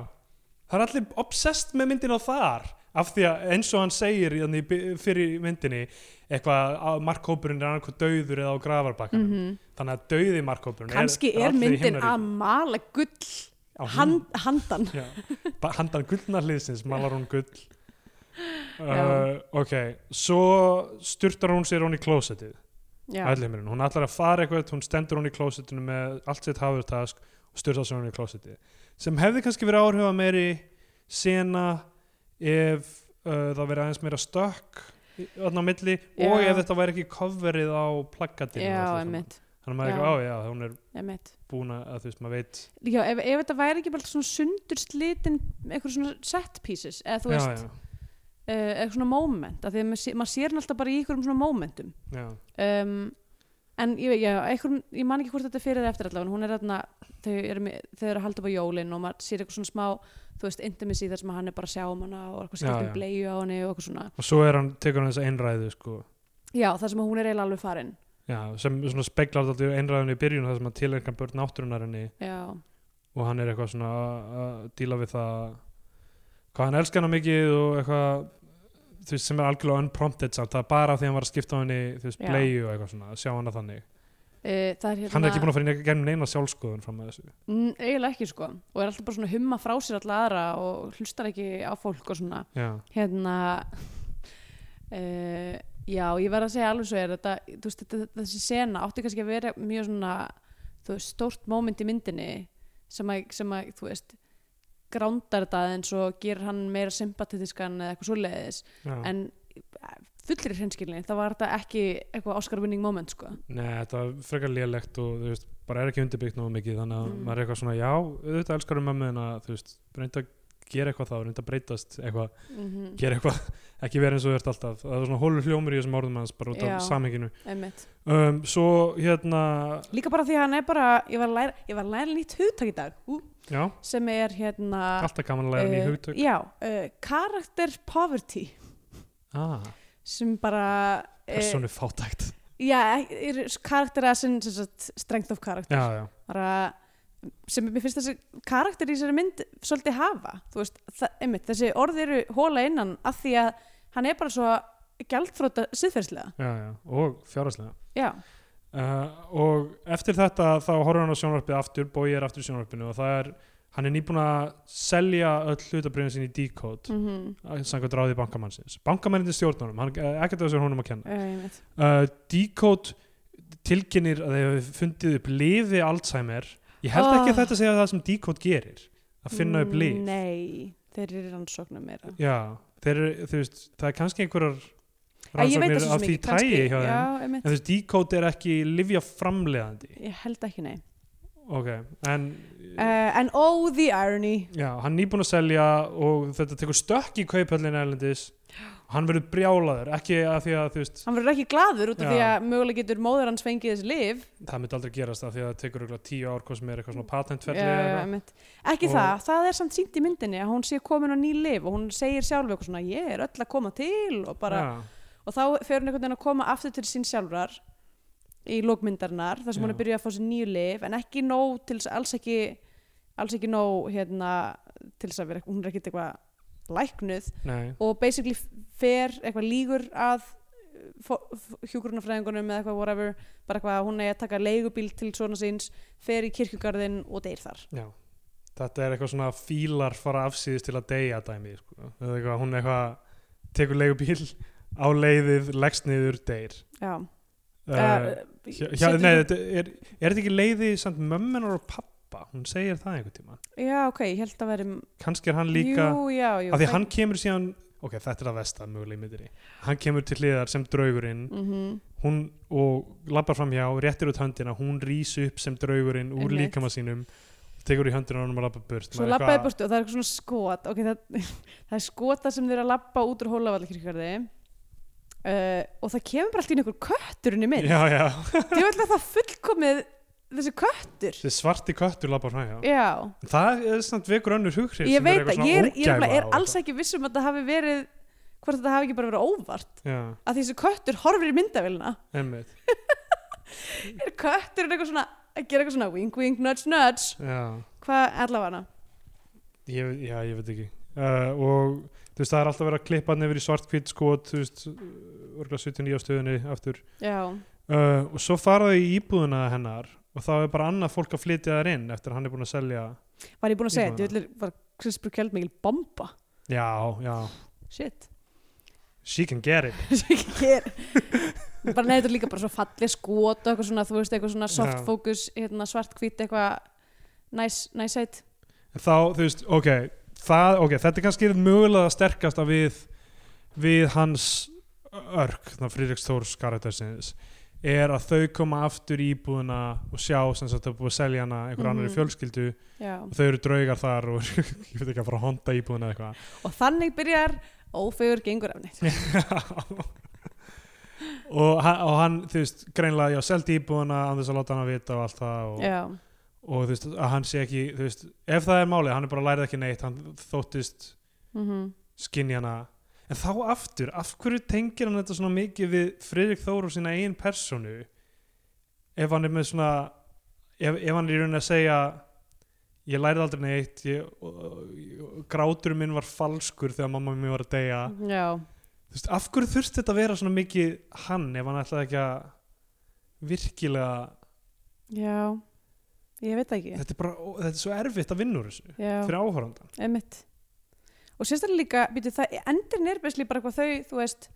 Það er allir obsessed með myndina þar af því að eins og hann segir hérna í- þannig í by- fyrir myndinni eitthvað að markhópurinn er annarkoð dauður eða á grafarbakkanum þannig að dauði markhópurinn
Mhm. kannski er,
allir í Mm.
myndin að
himnaríki.
mala gull
Á
hand, handan
Já, ba- handan gullna hliðsins malar hún gull uh,
Já.
ok, svo styrtar hún sér hún í klósettið
Já.
ætlumurinn, hún ætlar að fara eitthvað hún stendur hún í klósettinu með allt sitt hafurtask og styrtar sér hún í klósettið sem hefði kannski verið áhrifa meiri sena ef uh, það verið aðeins meira stökk þarna á milli
Já.
og ef þetta væri ekki coverið á plaggatinu
Já, einmitt
þannig að maður er
Já.
eitthvað á já, hún er
Einmitt.
búin að þú veist, maður veit
Já, ef, ef þetta væri ekki bara svona sundur slitin eitthvað svona set pieces eða
já,
þú veist, uh, eitthvað svona moment af því að maður sé- maður sér hann alltaf bara í einhverjum svona momentum
já, já,
um, en ég, veit- já, einhverjum, ég man ekki hvort þetta er fyrir eða eftir allavega, en hún er þarna þau eru, með- þau eru að halda upp á jólin og maður sér eitthvað svona smá, þú veist, intimacy þar sem hann er bara að sjá um hana og eitthvað
Já,
skiptum
já.
bleiu á henni og eitthvað svona
og svo er hann, tekur hann þessa einræðu sko,
já, þar sem hún er eiginlega alveg farin
já, sem svona speklar alltaf einræðinu í byrjun þar sem hann tilhengar börn náttúrunar henni
já,
og hann er eitthvað svona að- að díla við það hvað hann elskar hana mikið og eitthvað þú veist sem er algjörlega unprompted samt það er bara af því að hann var að skipta á henni þú veist
Já.
bleiu og eitthvað svona að sjá hana þannig
uh, það er hérna
hann er ekki búin að fara inn í gennum neina sjálfskoðun fram að þessu
Mm, eiginlega ekki sko og er alltaf bara svona að humma frá sér alla aðra og hlustar ekki á fólk og svona
já,
hérna uh, já, ég verð að segja alveg svo er þetta, þú veist, þetta, þessi sena átti kannski að vera mjög svona þú veist, stórt moment í myndinni sem að, sem að þú veist grándar þetta aðeins og gerir hann meira sympatetiskan eða eitthvað svoleiðis
já.
en eh, fullri hreinskilinni, það var þetta ekki eitthvað Oscar winning moment sko
Nei, þetta er frekar lélegt og þú veist, bara er ekki undirbyggt nógu mikið þannig að
Mm.
maður er eitthvað svona, já, auðvitað elskar um mömmu en að þú veist, reynda að gera eitthvað þá reynda að breytast eitthvað,
mm -hmm.
gera eitthvað ekki vera eins og þú ert alltaf, það er svona hólur hljómur í þessum orðum hans bara út
Já.
af samhenginu um, Svo hérna
líka bara því að hann er bara ég var að læra, ég var að læra nýtt hugtak í dag ú,
já,
sem er hérna
alltaf gaman að læra ný
eh,
hugtök
já, uh, character poverty
ah,
sem bara eh,
personu fátækt
já, er karaktera sem, sem sagt, strength of character
Já, já,
bara, sem mér finnst þessi karakter í þessari mynd svolítið hafa þú veist, það, einmitt, þessi orð eru hóla innan af því að hann er bara svo gjaldfróta siðferðslega
já, já, og fjárhagslega
já,
Uh, og eftir þetta þá horfir hann á sjónvarpið aftur, Bogi er aftur í sjónvarpinu og það er, hann er nýbúin að selja öll hlutabriðin sín í Decode
mm -hmm.
mm. samkvæmt ráði bankamannsins bankamannin til stjórnunum, hann, eh, ekkert af þessu er honum að kenna
einmitt
uh, Decode tilkynir að þeir hafi fundið upp lifi Alzheimer ég held ekki að
Ah. Mm,
þetta segja það sem Decode gerir að finna upp lif
nei, þeir eru rannsóknum meira
já, þeir, eru, þú veist, það er kannski einhverjar
Æ, ég veit það
rannsóknir
svo
af
sem
því
ekki,
tægi hjá þeim
já,
en
einmitt,
þú veist, Decode er ekki livja framleiðandi
ég held ekki nei
ok, en
uh, and oh the irony
Já, hann er nýbúin að selja og þetta tekur stökk í kauphöllin erlendis og hann verður brjálaður, ekki að því að þú veist,
hann verður ekki glaður út af
Já.
því að mögulega getur móður hans fengið þessi lif
það myndi aldrei gerast að því að það tekur örugglega tíu ár hvað sem er eitthvað svona
Já,
patentferli
já,
eða eitthvað.
einmitt. ekki
Og-
það, það er samt sínt í myndinni að hún sé komin á ný lif og hún segir sjálf eitthvað svona ég er öll að koma til og, bara,
Já,
og þá fer hún einhvern veginn að koma aftur til sín sjálfrar í lókmyndarnar þar sem hún
Já.
er byrjuð að fá sér nýju lif en ekki nóg til þess- alls ekki alls ekki nóg hérna, til þess að vera, hún er ekkit eitthvað læknuð
nei,
og basically fer eitthvað lígur að hjúgrunafræðingunum eða eitthvað whatever bara eitthvað að hún er að taka leigubíl til svona síns fer í kirkjugarðin og deyr þar
já þetta er eitthvað svona fílar fara afsýðis til að deyja dæmi, sko, eða eitthvað hún eitthvað tekur leigubíl <laughs> á leiðið, leggst niður, deyr
já, Eh,
uh, hjá, hjá,
setur-
Nei, þetta er, er þetta ekki leiði samt mömmunar og pappa, hún segir það einhvern tíma,
já ok, ég held að veri
kannski er hann líka
jú, já, jú,
af því að hann kemur síðan ok, þetta er að vesta mögulega í myndinni hann kemur til hliðar sem draugurinn
mm
hún og lappar fram hjá, réttir út höndina hún rís upp sem draugurinn úr
Einmitt.
líkama sínum tekur í höndina á honum og lappar burt
svo
Maður er
labbaði
eitthvað-
burtu og það er eitthvað svona skot ok, það, <laughs> það er skota sem þeir eru að labba út úr hólavallakirkjugarði uh, og það kemur bara allt í einu einhver kötturinn í minn
já, já,
ég vil að það fullkomið þessi köttur
þessi svarti köttur lappar fram hjá
já
það er samt vekur önnur hughrif
ég veit að ég er, ég er, nefnilega- er alls ekki viss um að það hafi verið hvort þetta hafi ekki bara verið óvart
já,
að þessi köttur horfir í myndavélina
emmitt
er kötturinn eitthvað svona að gera eitthvað svona wink wink nudge nudge
já,
hvað allavega
ég, já, ég veit ekki uh, og þú veist, það er alltaf verið að klippa hann yfir í svartkvít skot þú veist, örgulega 79 á stöðunni aftur
já,
uh, og svo fara þau í íbúðuna hennar og þá er bara annað fólk að flytja þær inn eftir að hann er búin að selja
var ég búin að segja
Ég
þetta ég vil var Chris Burkeld mikil bomba
já, já,
shit <laughs>
she can get it
Sem ekki ger.
<laughs>
bara neður líka bara svo falleg skot og eitthvað svona þú veist eitthvað svona soft
Já.
focus hérna svart hvít eitthvað næs nice, nice
en þá, þú veist, ok, það, ok þetta er kannski mögulega að sterkast að við við hans örk, þannig að Friðriks Þórs karaktersins er að þau koma aftur í íbúðuna og sjá sem sagt að búið að selja hana einhver
Mhm.
annari fjölskyldu
já.
og þau eru draugar þar og <laughs> eru, ég veit ekki að fara að honda íbúðuna eða eitthvað
og þannig byrjar ófegur gengur af neitt
<laughs> og, hann- og hann, þú veist, greinlega já, seldi íbúðuna án þess að láta hana vita og allt það og,
já,
og þú veist, að hann sé ekki þú veist, ef það er málið, hann er bara að læra ekki neitt hann þóttist
mm
skinja hana en þá aftur, af hverju tengir hann þetta svona mikið við Friðrik Þór og sína eigin personu ef hann er með svona ef, ef hann er í raunin að segja ég lærið aldrei neitt ég, og, og, grátur minn var falskur þegar mamma mér var að deyja
já,
þú veist, af hverju þurfti þetta að vera svona mikið hann ef hann ætlaði ekki að virkilega,
já ég veit það ekki
þetta er bara ó, þetta er svo erfitt að vinna úr þessu
já.
fyrir áhórandan
Einmitt. Og sérstaklega líka, býtu, það endirinn er besli bara hvað þau, þú veist,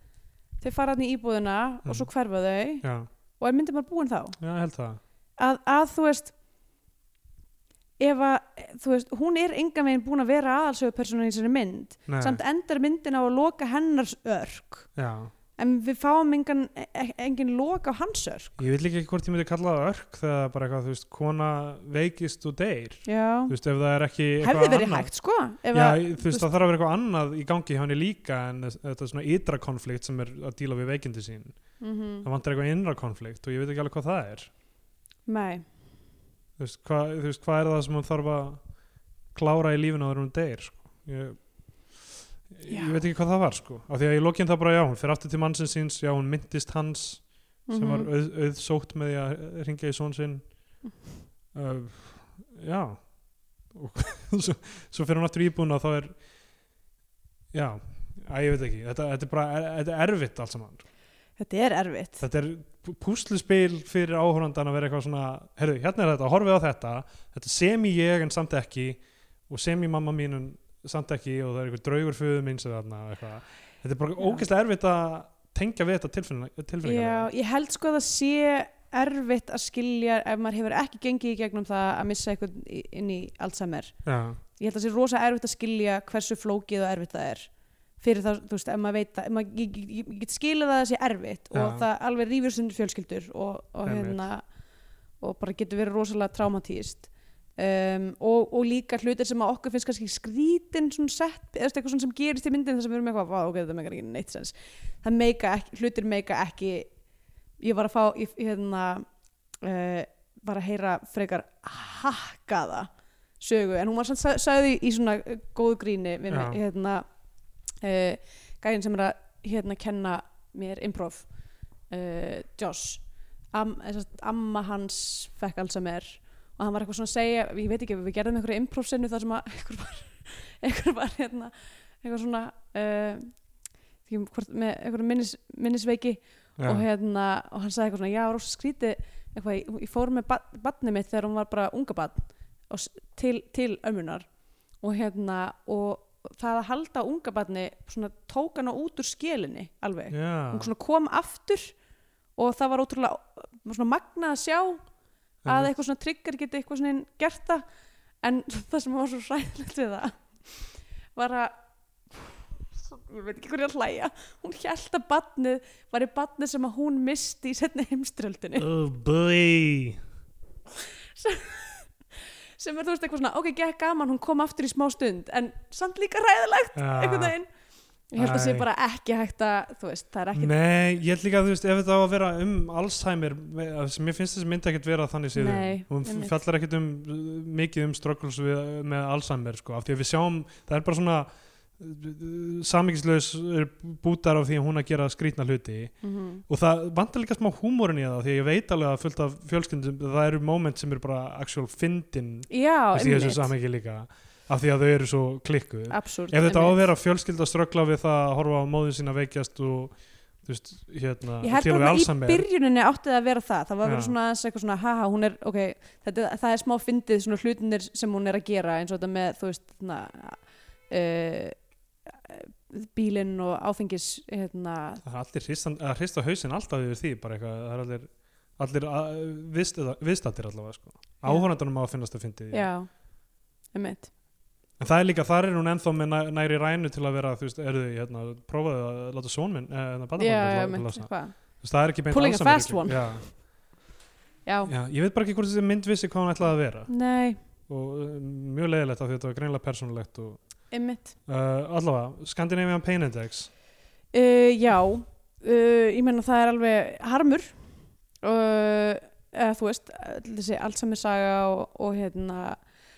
þau fara hann í íbúðina
Mm.
og svo hverfa þau
já,
og er myndið maður búin þá.
já, ég held það
Að, að þú veist, ef að, þú veist, hún er enga meginn búin að vera aðalsögu persónu í sinni mynd,
Nei,
samt endar myndin á að loka hennars örk.
já.
En við fáum engan, e- engin loka á hans örk.
ég veit líka ekki hvort ég myndi kalla það örk þegar það er bara eitthvað, þú veist, kona veikist og deyr,
Já.
þú veist, ef það er ekki
Hefði verið
annað.
hægt, sko. ef
Já,
að-
þú veist, það þarf að vera eitthvað annað í gangi hjá henni líka en þess- þetta er svona ytra konflikt sem er að díla við veikindi sín.
Mhm.
Það vantar eitthvað innra konflikt og ég veit ekki alveg hvað það er.
Nei.
Þú veist, hvað, þú veist, hvað er það sem hún þarf að klára í lífinu áður en hún deyr, sko. Ég,
Já.
ég veit ekki hvað það var, sko. Af því að ég lokinn það bara, já, hún fyrir aftur til mannsins síns, já, hún myndist hans, sem var
Mhm.
auð, auðsótt með því að ringja í són sinn uh, já og <laughs> svo, svo fyrir hún aftur íbúin og þá er já, að ég veit ekki þetta, þetta er bara, er, þetta er erfitt allt saman
Þetta er erfitt.
þetta er pú- púsluspil fyrir áhórandan að vera eitthvað svona herru, hérna er þetta, horfið á þetta þetta sem í ég en samt ekki og sem í mamma mín en samt ekki og það er eitthvað draugur föðu minns eða þarna og eitthvað. þetta er bara
Já.
ógeðslega erfitt að tengja við þetta tilfinningar
Já, ég held sko að það sé erfitt að skilja ef maður hefur ekki gengið í gegnum það að missa eitthvað inn í Alzheimer.
já.
Ég held að það sé rosa erfitt að skilja hversu flókið og erfitt það er fyrir það, þú veist, ef maður veit að, ef maður, ég, ég, ég, ég get skilið að það sé erfitt og
Já.
það alveg rífur sundur fjölskyldur og, og
Einmitt.
hérna og bara getur verið rosalega traumatíst um, og, og líka hlutir sem að okkur finnst kannski skrítin svona sett, eða þú veist, eitthvað svona sem gerist í myndin þar sem við erum eitthvað, "Vá, ok, þetta meikar ekki neitt sens það meika ekki, hlutir meika ekki ég var að fá ég, hérna uh, var að heyra frekar hakkaða sögu, en hún var samt sa- sagði í svona eh, góðu gríni við mig,
Já.
hérna uh, gæðin sem er að hérna kenna mér improv uh, Josh Am, eh, sem sagt, amma hans fekk alls að mér og hann var eitthvað svona að segja ég veit ekki, við gerðum einhverju improvsinu þar sem að <laughs> einhver var, einhver var hérna, eitthvað svona uh, því, hvort, með einhverju minnis, minnisveiki
Já.
og hérna, og hann sagði eitthvað svona já, rosa skrítið, eitthvað, ég, ég fór með bat, batnið mitt þegar hún var bara unga batn og, s- til, til ömmunar og hérna, og það að halda á unga batni, svona tók hana út úr skelinni, alveg
Já,
hún svona kom aftur og það var ótrúlega svona magnað að sjá að eitthvað svona trigger geti eitthvað svona gert það en <laughs> það sem var svo ræðilegt við það var að ég veit ekki hverju að hlæja hún held að badnið var í badnið sem að hún misti í setni heimströldinni
<laughs>
<laughs>
Oh boy
sem er þú veist eitthvað svona ok, gekk gaman, hún kom aftur í smá stund en samt líka ræðilegt
Ah.
einhvern veginn ég held að sé
Æ.
bara ekki hægt að þú veist, það er ekki
Nei, ég held líka að þú veist ef þetta á að vera um Alzheimer me- að sem mér finnst þessi mynd ekkert vera þannig síðan
Nei,
hún
einmitt.
fjallar ekkert um uh, mikið um struggles við, með Alzheimer sko, af því að við sjáum það er bara svona samíkislaus bútar af því að hún er að gera skrýtna hluti
mm
og það vantar líka smá húmórin í það því að ég veit alveg að fullt af fjölskyndum það eru moment sem eru bara actual fyndin
já,
þú veist, í þessu samíki líka af því að þau eru svo klikkuð
absúrt
ef þetta á að vera fjölskylda að ströggla við það að horfa á móðin sína veikjast og þú veist, hérna
Ég held
til og
bara
við
að í
Alzheimer.
byrjuninni átti það að vera það það var verið
Já.
svona aðeins eitthvað svona haha, hún er, ok, þetta, það er smá fyndið svona hlutinir sem hún er að gera eins og þetta með, þú veist, na, uh, bílinn og áfengis hérna,
það er allir hristan, að hrista hausinn alltaf yfir því bara eitthvað, það er allir allir að- viðstadda- viðstaddir allavega sko.
Já.
áhornandunum á að finnast að fyndi því
já einmitt,
en það er líka, þar er hún ennþá með næ- næri rænu til að vera, þú veist, eru þau hérna, prófaðu að láta són minn, eh, hérna,
já,
barnabarn mitt lá-
einmitt,
lása.
eitthvað
Þú veist, það er ekki beint
Pulling a
Alzheimer-
fast one.
já,
já,
já, ég veit bara ekki hvort þessi mynd vissi hvað hann ætlaði að vera
nei,
og uh, mjög leiðilegt af því að þetta var greinlega persónulegt og
einmitt
uh, allavega, Scandinavian Pain Index
uh, já, uh, ég meina það er alveg harmur uh, eða þú veist öll þessi allsamir saga og, og hérna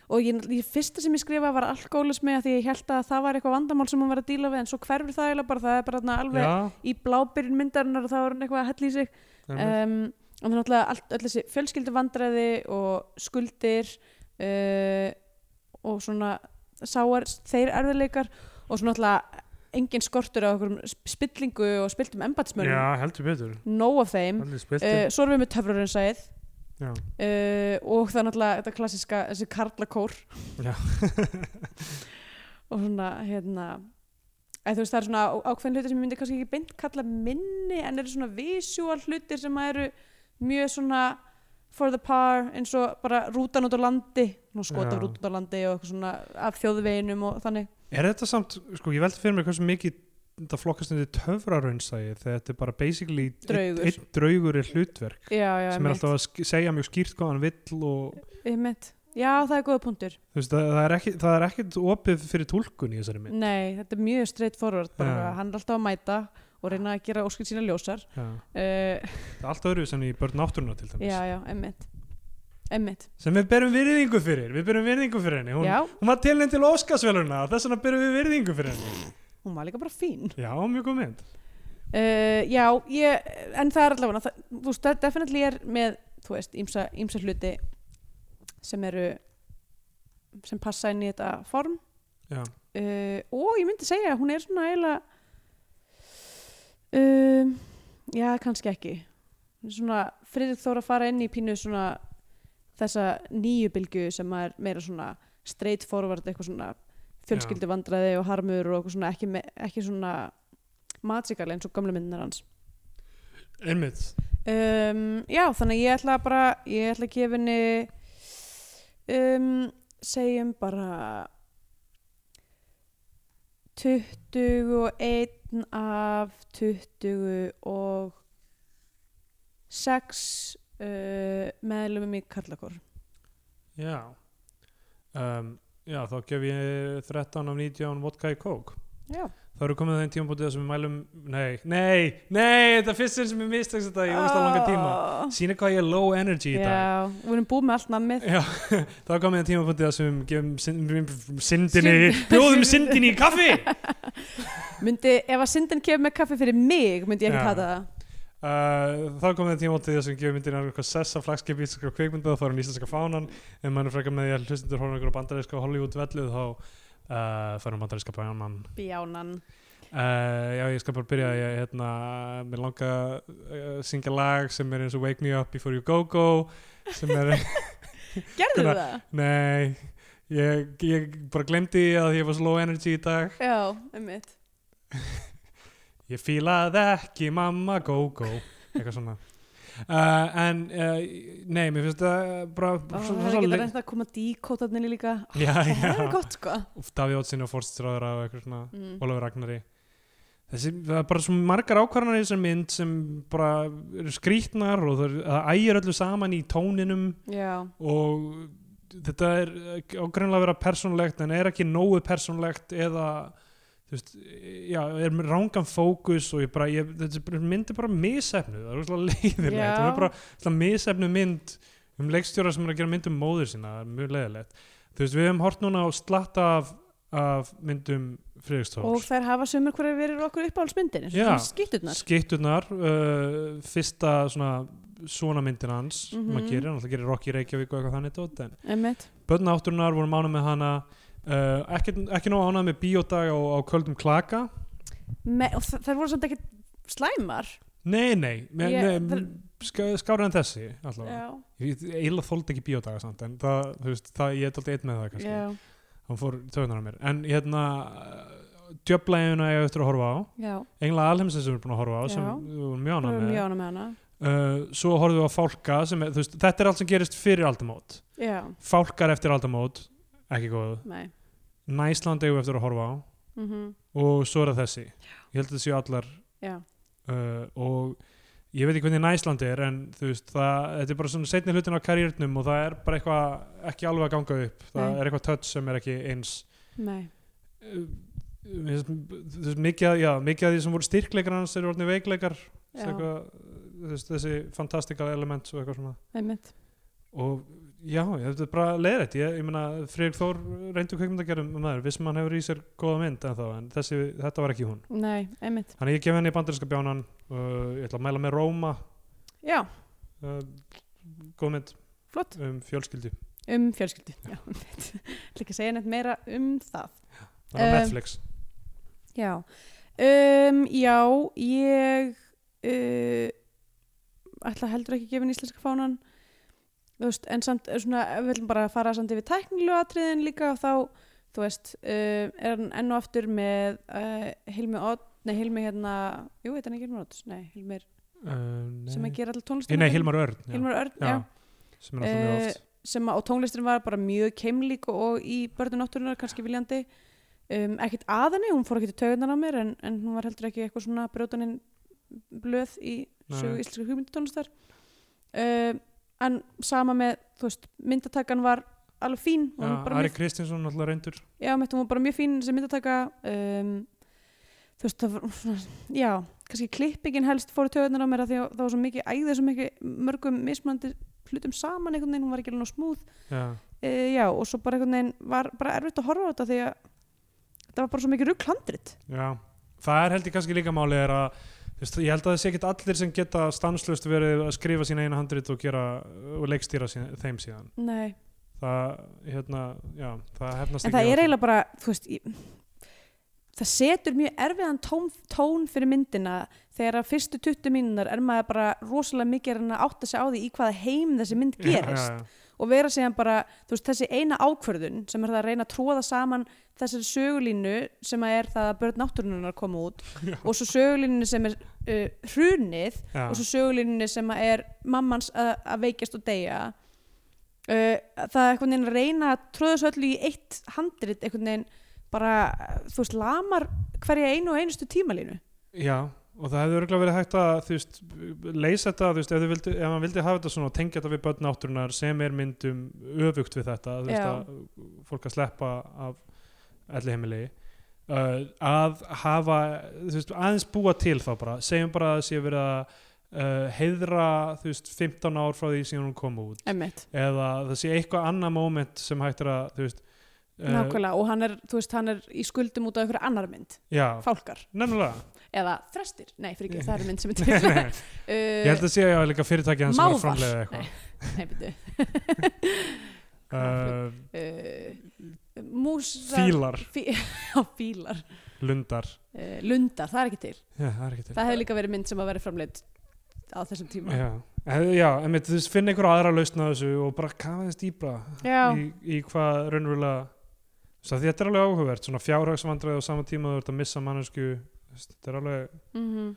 og ég, ég fyrsta sem ég skrifaði var alkoholismi af því ég held að það var eitthvað vandamál sem hún var að díla við en svo hverfur það eiginlega bara, það er bara þarna alveg
já,
í blábyrjun myndarinnar og þá var hann eitthvað að hella í sig
einmitt.
um, og það er náttúrulega allt, öll þessi fjölskylduvandræði og skuldir uh, og svona sáar, þeir erfiðleikar og svona náttúrulega engin skortur á okkur spillingu og spiltum
já,
embatsmörnum,
heldur betur
nóg af þeim
Allir spilti
uh, svo erum við með töfrarinsæð
Já.
uh, og það er náttúrulega þetta klassiska, þessi karlakór
Já.
<laughs> og svona hérna að þú veist það er svona á- ákveðin hlutir sem ég myndi kannski ekki beint kalla minni en eru svona visual hlutir sem að eru mjög svona for the par eins og bara rútan út á landi skota
Já.
rútan út á landi og eitthvað svona af þjóðveginum og þannig
Er þetta samt, sko, ég veldi fyrir mér hversu mikið þetta flokkast undir töfraraunsæi þegar þetta er bara basically einn
Draugur.
ein draugur er hlutverk
já, já,
sem er alltaf að sk- segja mjög skýrt hvað hann vill og
mitt já, það er góða punktur
þú veist, það, það er ekki það er ekkit opið fyrir tólkun í þessari mynd
nei, þetta er mjög straight forward bara,
Já.
hann er alltaf að mæta og reyna að gera óskil sína ljósar
Já.
uh,
Það er allt öðru sem í börn náttúruna til dæmis
Já, já, emmitt Emmitt,
sem við berum virðingu fyrir, við berum virðingu fyrir henni hún,
já,
hún var tilnænt til Óskarsveluna og þess vegna berum við virðingu fyrir henni
hún var líka bara fín
Já, mjög góð mynd
uh, Já, ég, en það er allavega það, þú veist, það definitely er með þú veist, ýmsa, ýmsa hluti sem eru sem passa inn í þetta form
Já,
uh, og ég myndi segja að hún er svona eiginlega um, já, kannski ekki Hún er svona friðið þóra að fara inn í pínu svona þessa nýju bylgu sem er meira svona straight forward eitthvað svona fjölskyldu og harmur og eitthvað svona ekki, me- ekki svona magical eins og gamla myndinar hans
einmitt
um, já, þannig að ég ætla bara ég ætla að gefa henni um, segjum bara 21 af 20 og 6 uh, meðlumum í Karlakor
Já um, Já, þá gef ég 13 af 19 vodka í kók
já,
Það eru komið að þeim tímabútið sem við mælum Nei, nei, nei, þetta er fyrst sinn sem ég mistakst þetta í ósla langa tíma Sýna hvað ég er low energy í dag
já, við erum búið með allt nammið
Já, þá er komið að tímabútið sem við gefum synd- syndinni Bjóðum syndinni í <laughs> kaffi
myndi, ef að syndin kemur með kaffi fyrir mig myndi ég ekki
Já.
hata það
Uh, þá komið það tíma til þess að gefa myndin eitthvað sessa flagskip íslenska kvikmynda þá farum íslenska fánan en maður er frekar með því að hlustendur horfum ykkur á bandaríska Hollywood vellu þá uh, farum bandaríska bæjaman
bjánan
uh, já ég skal bara byrja ég, hérna, mér langa uh, syngja lag sem er eins og Wake Me Up Before You Go Go sem er, <laughs>
gerðu
Hvenær-
það?
nei ég, ég bara glemdi að ég var slow energy í dag
já, um
ég fílaði ekki mamma go go eitthvað svona uh, en uh, nei, mér finnst þetta bara
Ó,
svo-
Það
svo-
getur reynda að koma díkótarnir líka
<laughs> já,
Það er
já,
gott sko
Úff, Davíð Ótsin og Forststráður og eitthvað svona
mm.
Ólafur Ragnari Þessi, það er bara svo margar ákvarðanir í þessar mynd sem bara eru skrýtnar og það, er, það ægir öllu saman í tóninum
Já,
og þetta er ágreinlega að vera persónlegt en er ekki nógu persónlegt eða þú veist, já, er með rángan fókus og ég bara, ég, þetta er bara- mynd er bara misefnu, það er rosalega <laughs> leiðilegt
Já.
það er bara það misefnu mynd um leikstjóra sem er að gera mynd um móður sína það er mjög leiðilegt, þú veist, við hefum hort núna á slatta af, af myndum
og
Friðrikstóls,
þær hafa sömur hverja verið okkur uppáhaldsmyndin
Já.
Skýtturnar
skitturnar uh, fyrsta svona svona myndin hans, mm
Mhm.
maður gerir, náttúrulega gerir Rocky Reykjavík og eitthvað þannig tótt, en
Einmitt.
Börn átturinnar vorum ánað með hana uh, ekki, ekki nóg ánað með bíódag á, á köldum klaka
Me, og þ- Þær voru samt ekki slæmar
Nei, nei, me,
Ég-
nei
það-
sk skárið en þessi allavega
Já,
Ég eila þóldi ekki bíódaga samt en það, þú veist, það, ég er alltaf einn með það kannski
já,
Hann fór töðunar á mér En hérna, djöflægjuna ég á eftir að horfa á
já
Engla alheimsins sem við erum búin að horfa á sem
Já.
við vorum mjög
Það
ánað
voru
með
mjög ána með hana
uh, Svo horfum við á fálka sem, er, þú veist, Þetta er allt sem gerist fyrir aldamót
Já,
Fálkar eftir aldamót, ekki góð
nei
Næsland eigum við eftir að horfa á
mm
eh, og svo er það þessi ég held að það séu allar
Já,
uh, og ég veit ekki hvernig næsland er en þú veist, það, þetta er bara svona setni hlutin á karriérnum og það er bara eitthvað ekki alveg að ganga upp, það
Nei.
er eitthvað touch sem er ekki eins
Nei,
uh, mér finnst- þú veist, mikið, að- já, mikið af því sem voru styrkleikar hans eru orðin veikleikar Þessi
já,
eitthvað, þú veist, þessi fantastikal element og eitthvað svona
einmitt
og já, ég- þetta er bara leiðrætt ég, ég meina, Friðrik Þór reyndu kveikmyndagerðum um það, viss mann hefur í sér góða mynd en, en þessi, þetta var ekki hún
Nei, einmitt
þannig að ég gef henni bandarinska bjánan uh, ég ætla að mæla með Róma
Já,
uh, góð mynd
flott,
um fjölskyldu
um fjölskyldu Já, einmitt <laughs> Ætla ekki að segja neitt meira um það
það er á
Eh,
Netflix
Já um, Já, ég uh, ætla heldur ekki að gefa henni íslenska fánan Þú veist, en samt eh, svona, ef við viljum bara fara samt yfir tæknilu atriðin líka og þá, þú veist uh, er hann enn og aftur með uh, Hilmi Odd, nei Hilmi hérna jú, veit hann ekki Hilmi Odd, nei Hilmi
uh,
sem að gera alltaf
nei,
tónlistina
nei, Hilmar Örn já,
Hilmar Örn,
já,
já,
sem er alltaf mjög
Eh,
oft
Sem að, og tónlistin var bara mjög keimlík og, og í börnum náttúrunar kannski viljandi um, ekkert að henni, hún fór ekkert í taugunar á mér en, en hún var heldur ekki eitthvað svona brjótaninn blöð í
Nei.
sögu íslenska hugmyndutónlistar um, en sama með þú veist, myndatakan var alveg fín hún
já,
var bara
Ari
mjög,
Kristinsson alltaf reyndur
já, mitt, hún var bara mjög fín sem myndataka um, þú veist, það var svona, já, kannski klippingin helst fór í taugunar á mér að því að það var svo mikið æðið svo mikið mörgum mismunandi hlutum saman einhvern veginn, hún var ekki alveg nóg smúð
já,
e, já, og svo bara einhvern veginn var bara erfitt að horfa á þetta því að þetta var bara svo mikið rugglandrit
já, það er held ég kannski líka máli er að þú veist, ég held að það sé ekkert allir sem geta stanslust verið að skrifa sína eina handrit og gera og leikstýra sína, þeim síðan
Nei.
það, hérna, já, það hefnast
en það er eiginlega bara þú veist, ég, það setur mjög erfiðan tón, tón fyrir myndina þegar að fyrstu 20 mínunar er maður bara rosalega mikið er að átta sig á því í hvaða heim þessi mynd
<laughs> já,
gerist
já,
og vera síðan bara, þú veist, þessi eina ákvörðun sem er það að reyna að tróða saman þessari sögulínu sem að er það að börn náttúrunar koma
<laughs>
út og svo sögulínu sem er uh, hrunið
já,
og svo sögulínunni sem að er mammans að, að veikjast og deyja uh, það er einhvern veginn að reyna að tróða svo öllu í eitt handrit einhvern veginn bara, þú veist, lamar hverja einu og einustu tímalínu
já og það hefði örgulega verið hægt að þú veist, leysa þetta, þú veist, ef, þau vildi, ef hann vildi hafa þetta svona og tengja þetta við börn átturinnar sem er myndum öfugt við þetta þú
Já.
veist, að fólk að sleppa af elli heimili uh, að hafa þú veist, aðeins búa til þá bara segjum bara að það sé verið að uh, heiðra þú veist, 15 ár frá því síðan hún kom út
Einmitt.
eða það sé eitthvað annað moment sem hægt er að þú veist, uh,
Nákvæmlega, og hann er, þú veist, hann er í skuldum út af einhverja annar mynd,
já,
fálkar
nefnilega
<laughs> eða þrestir, nei, fyrir ekki, það
<laughs>
er mynd sem er
Nei,
til
nei. ég held að sé að líka fyrirtæki hans sem var að
Mávar
framleiða
Nei,
eitthvað
nei, byrju
uh,
uh, Músar
fílar,
fí, <laughs> Já, fílar
lundar
uh, Lundar, það er ekki til
já, það er ekki til
Það hefði líka verið mynd sem að vera framleitt á þessum tíma.
já, Eh, já emitt, þú veist, finna einhverja aðra lausn á þessu og bara kafa þess dýbra
Já.
í, í hvað raunverulega þess að þetta er alveg áhugavert, svona fjárhagsvandræði á sama tíma þú ert að missa mannesku þetta er alveg,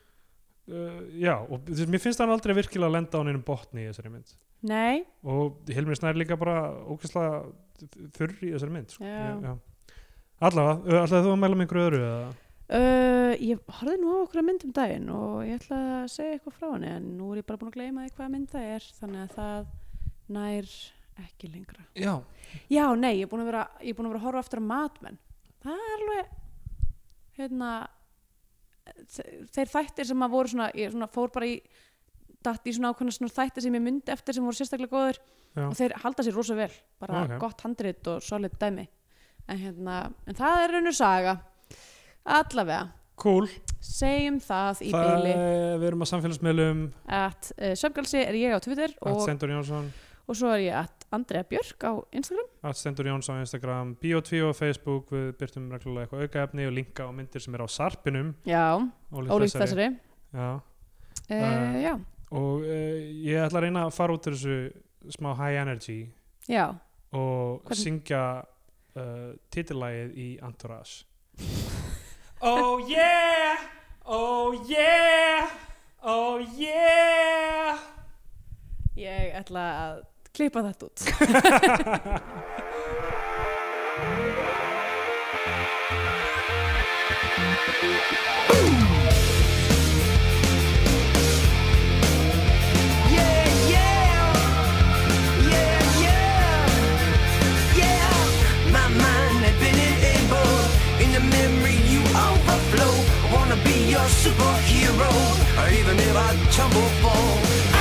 uh, já og þú veist, mér finnst hann aldrei virkilega að lenda á neinum botni í þessari mynd
Nei,
og Hilmir Snær er líka bara ókvæslega þurr í þessari mynd sko.
Já.
Ég- já. allavega, allavega þú að mæla með einhverju öðru eða?
uh, ég horfði nú á okkur að mynd um daginn og ég ætla að segja eitthvað frá henni en nú er ég bara búin að gleyma því hvaða mynd það er þannig að það nær ekki lengra.
já,
Já, nei, ég er búin að vera, ég er búin að, vera að horfa aftur á matmenn. Það er alveg, hérna, þe- þeir þættir sem að voru svona, ég svona fór bara í, datt í svona ákveðna svona þættir sem ég myndi eftir sem voru sérstaklega góðir
já.
og þeir halda sér rosa vel bara
Ok.
gott handrit og solid dæmi en, hérna, en það er raunur saga allavega,
cool
segjum það í
Það-
bíli
Við erum á samfélagsmiðlum
að uh, Söfgalsi er ég á Twitter
At
og,
Stendur Jónsson
og svo er ég að Andrea Björk á Instagram
At Stendur Jónsson á Instagram Bio2 og Facebook Við byrtum reglulega eitthvað aukaefni og linka á myndir sem er á sarpinum
já, ólíkt þessari
Já.
uh, já,
Og uh, ég ætla að reyna að fara út úr þessu smá high energy
já,
og
Hvern-
syngja uh, titillagið í Entourage Oh yeah Oh yeah Oh yeah
ég ætla að klippa þetta út
your superhero, or even if I tumble fall.